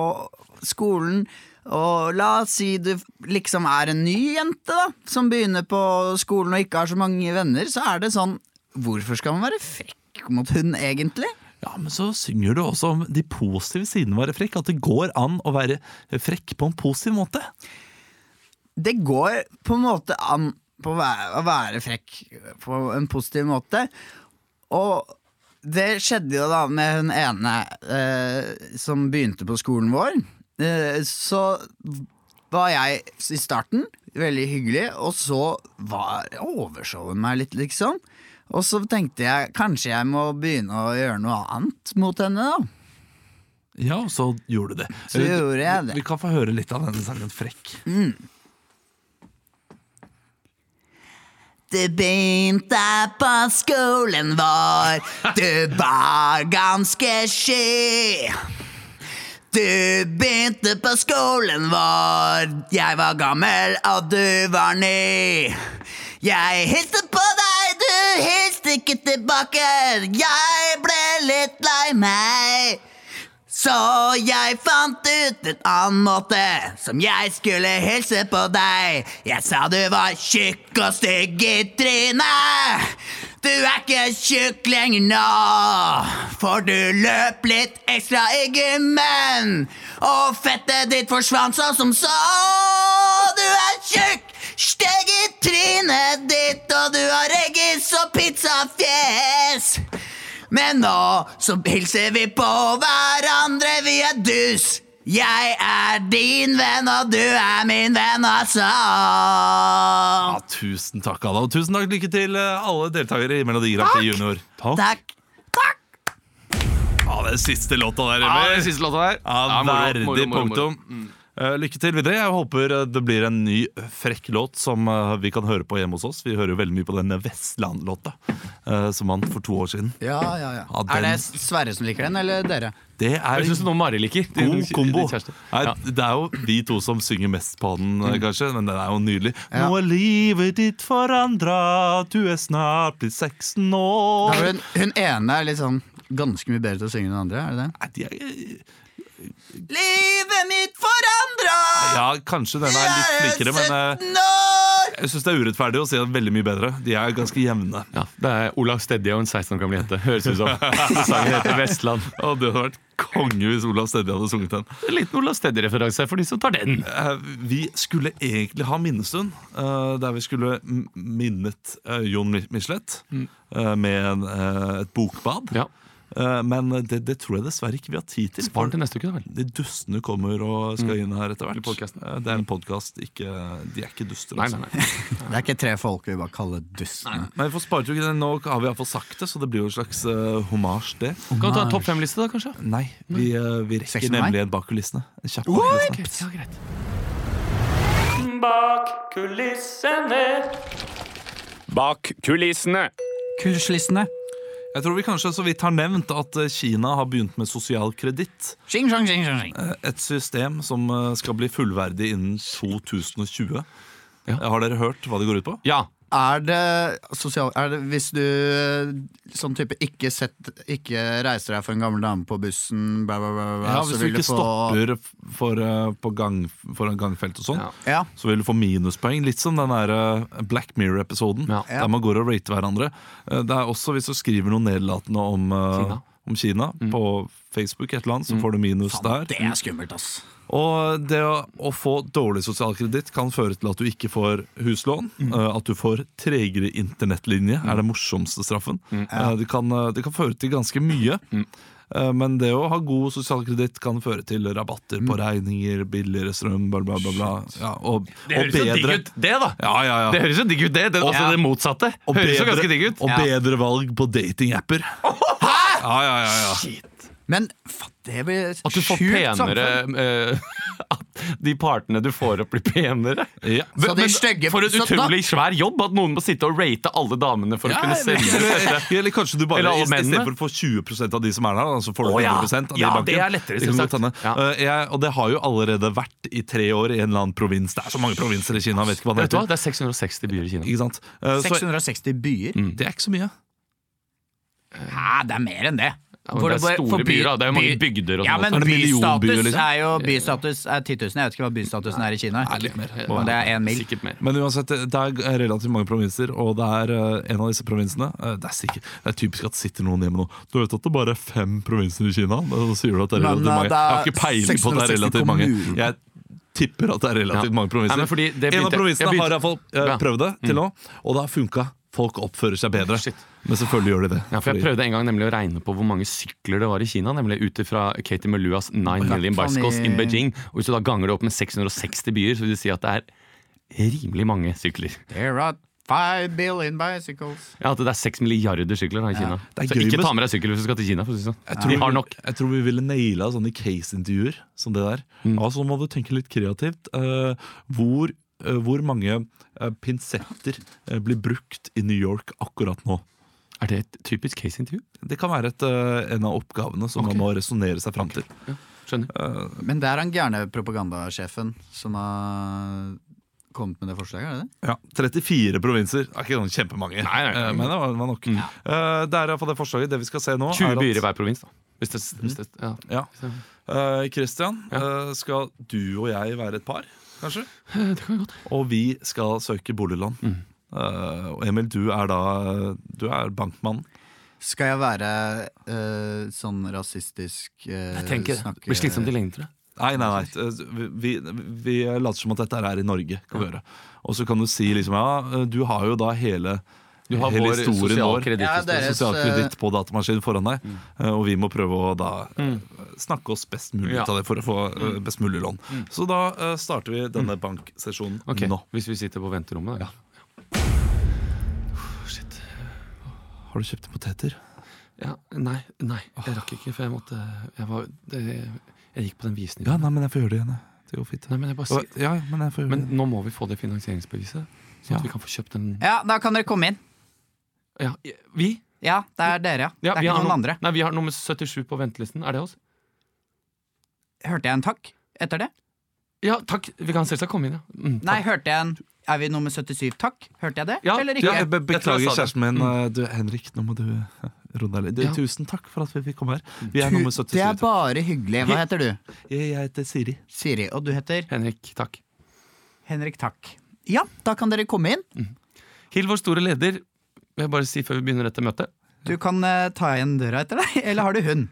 skolen og la oss si du liksom er en ny jente da, som begynner på skolen og ikke har så mange venner, så er det sånn Hvorfor skal man være frekk mot hun, egentlig?
Ja, men så synger du også om de positive sidene ved å være frekk. At det går an å være frekk på en positiv måte.
det går på en måte an på å være, å være frekk på en positiv måte. Og det skjedde jo da med hun ene eh, som begynte på skolen vår. Eh, så var jeg i starten veldig hyggelig, og så var overshowen meg litt, liksom. Og så tenkte jeg kanskje jeg må begynne å gjøre noe annet mot henne, da.
Ja, og så gjorde du det. Eh,
Så gjorde jeg det.
Vi kan få høre litt av denne sangen 'Frekk'.
Mm.
Det begynte på skolen vår. Du var ganske sky. Du begynte på skolen vår. Jeg var gammel, og du var ny. Jeg hilste på deg, du hilste ikke tilbake. Jeg ble litt lei meg. Så jeg fant ut en annen måte som jeg skulle hilse på deg. Jeg sa du var tjukk og stygg i trynet. Du er ikke tjukk lenger nå, for du løp litt ekstra i gymmen. Og fettet ditt forsvant så som så. Du er tjukk, stygg i trynet ditt, og du har reggis og pizzafjes. Men nå så hilser vi på hverandre, vi er dus. Jeg er din venn, og du er min venn, altså.
Ja, Ah, tusen takk, Ada. Og tusen takk lykke til eh, alle deltakere i Melodi Grand Prix Junior. Takk.
Takk. Takk.
Ja, den siste låta der,
Ja,
Emil.
den siste låta der.
Ja,
Ja, moro,
verdig
moro, moro, Mm. moro.
punktum. Eh, lykke til videre. Jeg håper eh, det blir en ny eh, frekk låt som eh, vi kan høre på hjemme hos oss. Vi hører jo veldig mye på den Vestland-låta eh, som vant for to år siden.
Ja, ja, ja.
Ja,
Er det
den-
Sverre som liker den, eller dere?
Det er
Jeg syns
en
noe sånn Mari liker. Din-
god
din
kombo.
kjæreste.
Nei,
Ja. Mm.
det er jo vi to som synger mest på den, eh, kanskje, men den er jo nydelig.
Ja.
Nå er livet ditt forandra, du er snart blitt 16 år.
Ja, for Hun, hun ene er litt sånn ganske mye bedre til å synge enn den andre. er det det?
Nei, de er,
Livet mitt forandra.
ja, kanskje den er litt flinkere, men eh,
år.
Jeg syns det er urettferdig å si at veldig mye bedre. De er ganske jevne.
Ja, det er Olav Stedje og en 16 år gammel jente. Høres ut som. Sangen heter Vestland.
Og det hadde vært konge hvis Olav Stedje hadde sunget den.
En liten Olav Stedje-referanse for de som tar den.
Eh, Vi skulle egentlig ha minnestund, eh, der vi skulle m- minnet eh, Jon Mi- Michelet eh, med en, eh, et bokbad.
Mm. Ja,
Eh, Men det, det tror jeg dessverre ikke vi har tid til.
Spar den til neste uke, da vel.
De dustene kommer og skal inn her etter
I
hvert.
podcasten.
Eh, Det er en podkast. De er ikke duster.
Nei,
altså.
nei, nei.
Det er ikke tre folk vi bare kaller dustene.
Men vi får spart jo ikke den nå, har vi iallfall sagt det, så det blir jo en slags uh, hommage, det.
Kan vi ta en topp fem-liste, da, kanskje?
Nei, vi, eh, vi rekker
Sex med meg?
nemlig en bak kulissene. En kjapp bak kulissene.
Ja, greit.
Bak kulissene.
Kurslistene.
Jeg tror vi kanskje så vidt har nevnt at eh, Kina har begynt med sosial kreditt.
Sjing, sjang, sjing, sjang, sjing.
Et system som eh, skal bli fullverdig innen 2020.
Ja.
Eh, Har dere hørt hva det går ut på?
Ja.
Er det sosial... Er det, hvis du eh, sånn type ikke, sett, ikke reiser deg for en gammel dame på bussen, bla, bla, bla, bla
Ja,
så
Hvis du
vil
ikke
få-
stopper f- for, eh, på gang, foran gangfelt og sånn,
Ja.
Ja.
så vil du få minuspoeng. Litt som den der eh, Black Mirror-episoden,
Ja.
der man går og rater hverandre. Eh, Det er også hvis du skriver noe nedlatende om eh,
Kina. Mm.
om Kina på Facebook, et eller annet, så får du minus der.
Det er skummelt, ass.
Og det å, å få dårlig sosial kreditt kan føre til at du ikke får huslån.
Mm.
eh, At du får tregere internettlinje, er det morsomste straffen.
Mm.
Eh, Det, kan, eh, det kan føre til ganske mye. Eh, Men det å ha god sosial kreditt kan føre til rabatter
Mm.
på regninger, billigere strøm, bla, bla, bla. bla. Ja, og,
Det høres
og
jo
bedre,
digg ut, det, da!
Ja, ja, ja.
Det høres jo digg ut, det. det altså det motsatte.
Og
høres jo
bedre-
ganske digg ut.
Og bedre valg på datingapper. Ja, ja, ja, ja.
Men fatt, det blir
At du får
sjukt
penere
samfunn.
eh, *laughs* At de partene du får opp, blir penere.
Ja.
Så de
Men
stygge
For en
så da-
utrolig svær jobb at noen må sitte og rate alle damene for å kunne selge.
eller, eh, eller kanskje du bare
Eller alle
i-
mennene.
istedenfor å få 20 av de som er der, da, så får du
Å, ja.
100 av de i
Ja,
banken.
det er lettere,
kan
selvsagt.
godt hende.
Ja.
Eh, jeg, og det har jo allerede vært i tre år i en eller annen provins. Det er så mange provinser i Kina, jeg vet ikke hva det
*laughs* Vet du hva?
heter.
Det er 660 byer i Kina.
Ikke sant? Eh, så,
660 byer?
det er ikke så mye.
Hæ, det er mer enn det.
Ja, men
For
det
bare-
er
for
store
by-
byer, da. Det er jo mange
by-
bygder og
Ja,
sånn.
men
Er det millionbyer,
bystatus
liksom?
er jo bystatus er 10 000. Jeg vet ikke hva bystatusen er i Kina. Men det er én mil.
Sikkert mer.
Men uansett, det er relativt mange provinser, og det er eh, en av disse provinsene eh, det er, sikkert, det er typisk at det sitter noen hjemme nå. Du vet at det bare er fem provinser i Kina? Og så sier du at det er
Men,
relativt
eh,
mange.
det er
Jeg har ikke peiling på at det er
660
relativt mange.
kommuner.
Jeg tipper at det er
Ja.
relativt mange
Nei, men
provinser.
fordi det begynte-
en av provinsene
jeg begynte-
har iallfall uh,
Ja. Mm.
prøvd det til nå, og det har funka. Folk oppfører seg bedre.
Shit.
Men selvfølgelig gjør de det.
Ja, for
Fordi-
Jeg prøvde en gang nemlig å regne på hvor mange sykler det var i Kina. Nemlig ut fra Katie Maluas 9
faen,
million bicycles
i-
in Beijing. Og Hvis du da ganger det opp med 660 byer, så vil du si at det er rimelig mange sykler.
There are five billion bicycles.
Ja, At det er 6 milliarder sykler da, i Kina.
Det er
Så
gøy
ikke
med-
ta med deg sykkel hvis du skal til Kina. For å si det
Jeg
sånn.
tror,
De har
vi-
nok.
jeg tror vi ville naila sånne case-intervjuer som det der.
Mm.
Ja, så må du tenke litt kreativt. Eh, hvor, eh, hvor mange eh, pinsetter eh, blir brukt i New York akkurat nå?
Er det et typisk case-intervju?
Det kan være et, eh, en av oppgavene som man må resonnere seg fram til.
Skjønner.
Men det er han gærne propagandasjefen som har kommet med det forslaget, er det det?
Ja, 34 provinser. Det er ikke sånn kjempemange,
Nei, nei.
eh, men det var, var nok. Eh, det er iallfall det forslaget. Det vi skal se nå,
20
er
byer
at
i hver provins, da. Hvis det, hvis det, ja.
ja. Eh, Christian, eh, skal du og jeg være et par, kanskje?
*laughs* Det kan vi godt. Mm.
Og vi skal søke boliglån. Eh, og Emil, du er da Du er bankmann.
Skal jeg være eh, sånn rasistisk eh,
Jeg tenker det.
snakke-
Blir slitsomt i lengden, tror jeg.
Nei, nei, nei. eh, Vi, vi later som at dette her er i Norge. Kan vi gjøre. Og så kan du si liksom ja, du har jo da hele,
Du har
hele
vår
historien
sosial
vår.
Ja,
kreditthistorie.
det- Deres,
Sosial kreditt på datamaskinen foran deg.
Mm.
eh, Og vi må prøve å da eh, snakke oss best mulig
Ja. Mm.
ut av det for å få eh, best mulig lån. Så da eh, starter vi denne banksesjonen
Ok,
nå.
Hvis vi sitter på venterommet, da. Shit.
Har du kjøpt poteter?
Ja, nei, nei, jeg rakk ikke, for jeg måtte Jeg, var, det, jeg gikk på den visningen.
Ja, nei, men jeg får gjøre det igjen. jeg. Det går fint.
Nei, men, jeg bare, sier-
Ja, men jeg får gjøre
men
det.
nå må vi få det finansieringsbeviset, sånn at
Ja.
vi kan få kjøpt den
Ja, da kan dere komme inn.
ja, Vi?
Ja, det er dere, ja.
Ja,
det er
vi
ikke
har
noen
no-
andre.
Nei, vi har nummer 77 på ventelisten. Er det oss?
Hørte jeg en takk etter det?
Ja, takk. Vi kan selvsagt komme inn, ja. Mm,
Nei, hørte jeg en Er vi nummer 77 takk? Hørte jeg det,
Ja,
eller
Ja,
ikke?
jeg be
Jeg tror jeg
beklager,
sa det.
kjæresten min. eh, Du, Henrik, nå må du *laughs* eh, roe deg litt. Du,
Mm. Ja.
Tusen takk for at vi fikk komme her. Vi er nummer
Tu- det er
77.
bare hyggelig. Hva heter du?
Jeg, jeg heter Siri.
Siri. Og du heter?
Henrik, takk.
Henrik Takk. Ja, da kan dere komme inn.
Hill, vår store leder, vil jeg bare si før vi begynner dette møtet.
Du kan eh, ta igjen døra etter deg. *laughs* Eller har du hund?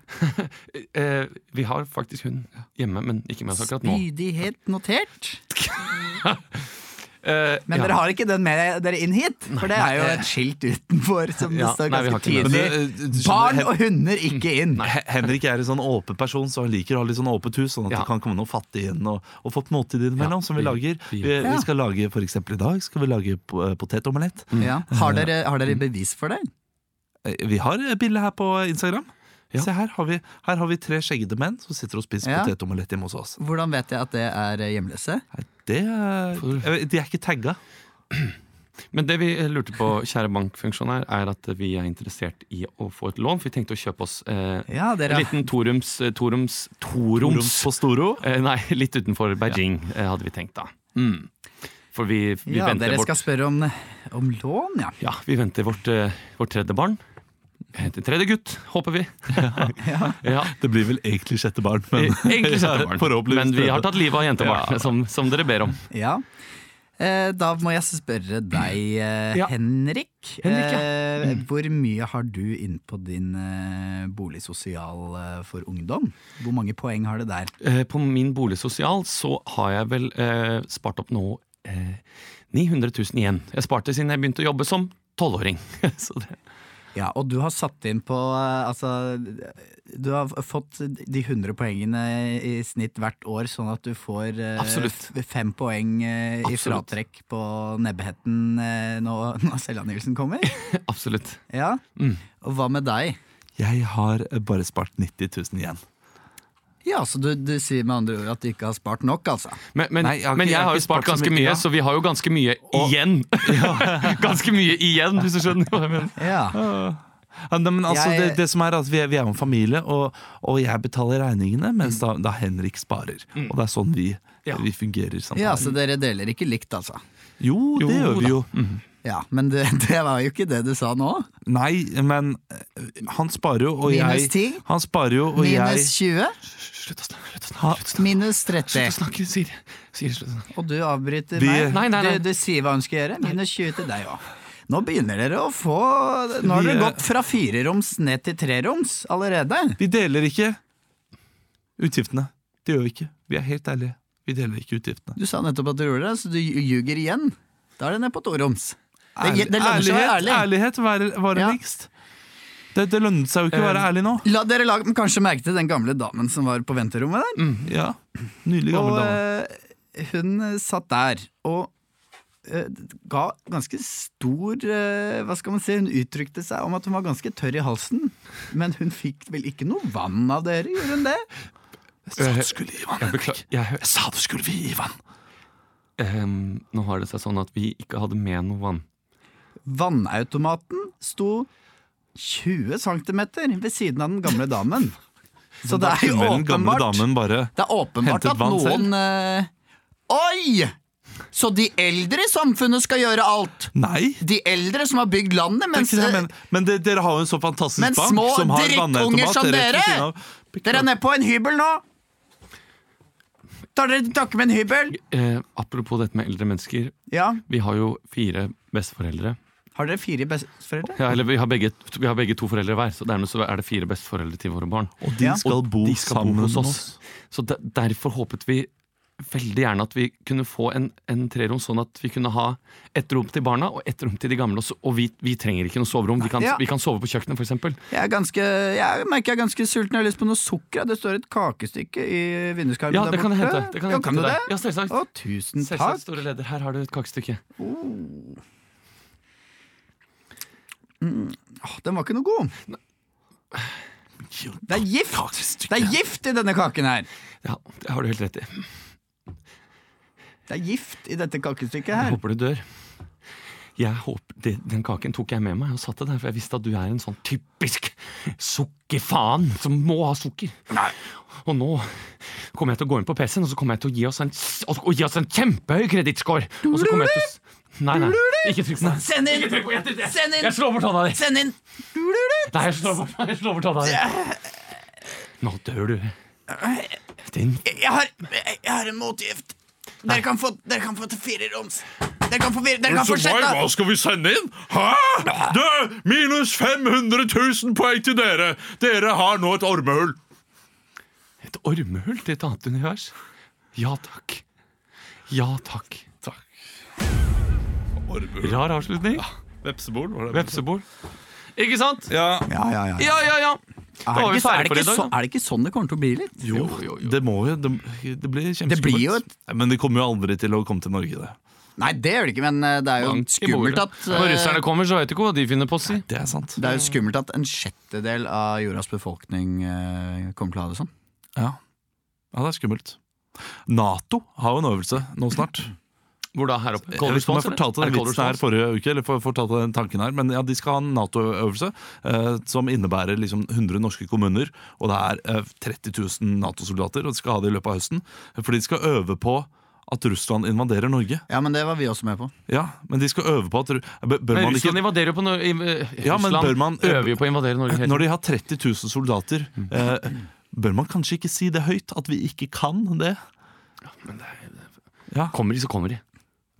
Eh, vi har faktisk hun hjemme, men ikke med oss akkurat nå.
Spydighet notert.
Eh,
Men
ja.
dere har ikke den med dere inn hit? For det er jo et skilt utenfor som det
Ja,
står
nei,
ganske
vi har ikke
Men
tydelig.
det, eh, du skjønner,
Barn
Hen-
og hunder ikke inn.
He- Henrik er en sånn åpen person, så han liker å ha litt sånn åpent hus. Sånn at
Ja.
det kan komme noen fattige inn og, og få et måltid innimellom.
Ja,
som vi
vi-
lager.
vi-
Vi, vi skal lage for eksempel i dag skal vi lage po- eh, potetomelett.
Ja. Har, dere, har dere bevis for det?
Eh, Vi har et bilde her på eh, Instagram.
Ja.
Se her har, vi, her har vi tre skjeggede menn som sitter og spiser
Ja.
potetomelett hjemme hos oss.
Hvordan vet jeg at det er eh, hjemløse?
Nei, Det, eh,
For-
de er ikke tagga.
Men det vi lurte på, kjære bankfunksjonær, er at vi er interessert i å få et lån. For vi tenkte å kjøpe oss eh,
Ja,
en
dere
liten torums, eh, torums,
Roms
torums
på Storo.
eh, Nei, litt utenfor Beijing, eh, hadde vi tenkt da. Mm. For vi, vi
ja,
venter
dere
vårt
skal spørre om, om lån, ja.
Ja, vi venter vårt, eh, vårt tredje barn. Eh, Tredje gutt, håper vi. *laughs* ja. Eh,
Det blir vel egentlig sjette barn, men *laughs*
Egentlig sette barn.
Forhåpentligvis
Men vi
tredje.
har tatt livet av jentebarn, som, som dere ber om.
ja. Eh, Da må jeg spørre deg, eh,
Ja.
Henrik.
Henrik, ja. Mm.
Eh, Hvor mye har du inn på din eh, boligsosial eh, for ungdom? Hvor mange poeng har det der?
Eh, På min boligsosial så har jeg vel eh, spart opp nå eh, 900 000 igjen. Jeg sparte siden jeg begynte å jobbe som tolvåring. *laughs* Så det-
Ja, Og du har satt inn på eh, Altså, du har fått de 100 poengene i snitt hvert år, sånn at du får eh,
Absolutt.
f- fem poeng eh, i
Absolutt.
fratrekk på nebbehetten eh, nå, *laughs* når selvangivelsen kommer.
Absolutt.
Ja. Og hva med deg?
Jeg har eh, bare spart 90 000 igjen.
Ja, så du, du sier med andre ord at du ikke har spart nok, altså?
Men, men,
Nei, jeg har ikke-
men
jeg
jeg
har
har
ikke
jo spart
spart så
ganske
mye,
mye,
ja.
så vi har jo ganske mye igjen. *laughs* ganske mye igjen, hvis du skjønner hva jeg mener.
Ja.
Ja, nei, men altså,
Jeg-
det, det som er at Vi er, vi er jo en familie, og, og jeg betaler regningene, mens da, da Henrik sparer. Og det er sånn vi,
Ja.
vi fungerer sammen.
Mm. Ja, så dere deler ikke likt, altså.
Jo, det
Jo
gjør vi
da.
jo.
Mm. Ja, Men det, det var jo ikke det du sa nå.
Nei, men eh, han sparer jo, og
Minus
jeg
10?
Han sparer jo, og
Minus 20,
Slutt å snakke,
Ha-
slutt å snakke. Slutt å snakke,
minus
slutt å
30.
snakke Siri. Siri, slutt å snakke.
Og du avbryter
Vi-
meg.
Nei, nei, nei.
Du, du sier hva hun skal gjøre. Minus 20 til deg òg. Nå begynner dere å få Nå har
Vi,
dere
eh,
gått fra fireroms ned til treroms allerede.
jeg Vi deler ikke utgiftene. Det gjør vi ikke. Vi er helt ærlige. Vi deler ikke utgiftene.
Du sa nettopp at du gjorde det, så du ljuger igjen. Da er det ned på toroms. Det, det lønner seg å være
ærlighet,
ærlig.
ærlighet varer, varer
Ja. Eh.
lengst. Det, det lønnet seg jo ikke å være ærlig nå.
La dere la, kanskje merke til den gamle damen som var på venterommet der.
Ja, Nylig gammel
og
dame.
eh, hun satt der og eh, ga ganske stor eh, Hva skal man si? Hun uttrykte seg om at hun var ganske tørr i halsen. Men hun fikk vel ikke noe vann av dere, gjorde hun det?
Jeg sa du skulle gi vann,
Jeg
Henrik.
beklager. Jeg,
Jeg sa du skulle gi vann.
ehm, nå har det seg sånn at vi ikke hadde med noe vann.
Vannautomaten sto 20 cm ved siden av den gamle
*laughs*
damen. Så det er jo
Men den gamle
åpenbart,
damen bare
det er åpenbart
hentet
at
vann selv.
noen eh, Oi! Så de eldre i samfunnet skal gjøre alt!
Nei!
De eldre som har bygd
Det
landet,
er
mens
ikke det jeg mener. Men det, dere har jo en så fantastisk
Men
bank
små
som har
drittunger
vannautomat
som
rett ved
dere!
siden av.
eh, Dere er nede på en hybel nå! Tar dere til takke med en hybel?
Eh, apropos dette med eldre mennesker.
Ja.
Vi har jo fire besteforeldre.
Har dere fire besteforeldre?
Ja, eller vi har, begge, vi har begge to foreldre hver, så dermed så er det fire besteforeldre til våre barn.
Og de
Ja.
skal bo
de skal bo
sammen
hos
med
oss.
oss.
Så de, derfor håpet vi veldig gjerne at vi kunne få en, en trerom, sånn at vi kunne ha et rom til barna og et rom til de gamle. Og, så, og vi, vi trenger ikke noe soverom. Vi kan,
Ja.
vi kan sove på kjøkkenet, f.eks.
Jeg, er ganske, jeg merker jeg er ganske sulten. Jeg har lyst på noe sukker. ja. Det står et kakestykke i vinduskarmen
Ja,
der
det kan jeg
borte.
hente. Det kan
ja,
jeg hente
kan
til
du
deg.
det?
Ja, selvsagt.
Å, tusen
Selvsagt,
takk.
store leder. Her har du et kakestykke.
Å, den var ikke noe god. Det er gift! Det er gift i denne kaken
eh,
her!
Ja, det har du helt rett i.
Det er gift i dette kakestykket
Jeg
her.
håper du dør. Jeg håper, det, Den kaken tok jeg med meg og satte der, for jeg visste at du er en sånn typisk sukkerfaen som må ha sukker. Og nå kommer jeg til å gå inn på PC-en og så kommer jeg til å gi oss en, s- og, og gi oss en kjempehøy kredittscore. Og så kommer jeg til å s- Nei, nei, ikke trykk på den.
Send inn!
Ikke trykk på den, jeg trykker-
Send inn!
Jeg slår bort hånda di!
Send inn!
Nei, jeg slår bort, jeg slår bort hånda di. Nå dør du. Din
Jeg har, jeg har en motgift. Dere kan få, dere kan få til fire roms. Dere kan få, fire- dere kan få sjekka.
skal vi sende inn? Hæ? Det er minus 500 000 poeng til dere! Dere har nå et ormehull.
Et ormehull til et annet univers? Ja takk. Ja takk.
Ormehull.
Rar avslutning.
Vepsebol, var det?
Vepsebol. Ikke sant?
Ja.
Ja, ja, ja.
Ja, ja, ja. Da
Er
var
det,
vi
ikke, er,
ferdig
det
for i
ikke så,
dag. da.
er det ikke sånn det kommer til å bli litt?
Jo, det må jo Det, det blir kjempeskummelt.
Det blir jo et-
Nei, Men det kommer jo aldri til å komme til Norge, det.
Nei, det gjør det ikke, men eh, det er jo
Bank i
skummelt
bordet.
at
Når
eh,
russerne kommer, så vet du ikke hva de finner på å si.
Det er sant.
det er jo skummelt at en sjettedel av jordas befolkning eh, kommer til å ha det sånn.
Ja. ja, det er skummelt. Nato har jo en øvelse nå snart.
Hvor da? Her oppe?
Jeg vet ikke om jeg fortalte den vitsen her forrige uke, eller for- fortalte den tanken her, men ja, de skal ha en Nato-øvelse eh, som innebærer liksom 100 norske kommuner, og det er eh, 30 000 Nato-soldater, og de skal ha det i løpet av høsten. For de skal øve på at Russland invaderer Norge.
Ja, men det var vi også med på.
Ja, men de skal øve på at Ru- Eh, Bør bør
Men
man
Russland
ikke
invaderer jo på Norge.
Ja, men bør
Russland
man-
øver jo på å invadere Norge. hele
Når de har 30 000 soldater, eh, bør man kanskje ikke si det høyt? At vi ikke kan det?
tiden. Kommer de, så kommer de.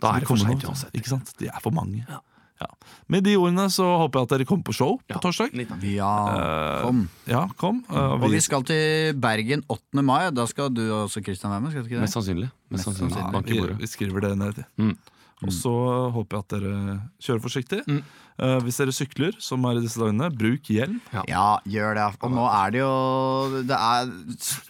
Da er
det
det
for
for
sent
seint uansett. Ikke sant? De er for mange. Ja. Med de ordene så håper jeg at dere kommer på show på torsdag.
Ja,
Eh,
kom.
Ja, kom. eh,
Og vi skal til Bergen 8. mai. Da skal du også, Christian, være med? Skal du ikke
Mest
det?
sannsynlig. Mest sannsynlig.
Ja,
Bank i
vi,
bordet.
vi skriver det ned.
Mm.
Og så håper jeg at dere kjører forsiktig.
Mm.
Eh, hvis dere sykler, som er i disse dagene, bruk hjelm.
Ja, gjør det. Og nå er det jo det er,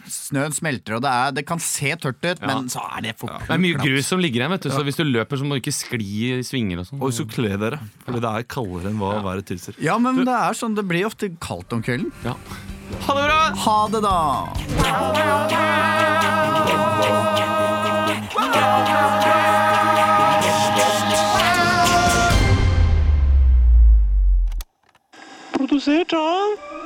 Snøen smelter, og det, er, det kan se tørt ut, men så er det for
Det er mye grus som ligger her, vet du, så hvis du løper, så må du ikke skli i svinger og sånn.
Og husk å kle dere, Fordi det er kaldere enn hva været tilsier.
Ja, men det er sånn, det blir ofte kaldt om kvelden.
Ja.
Ha det da!
produzir John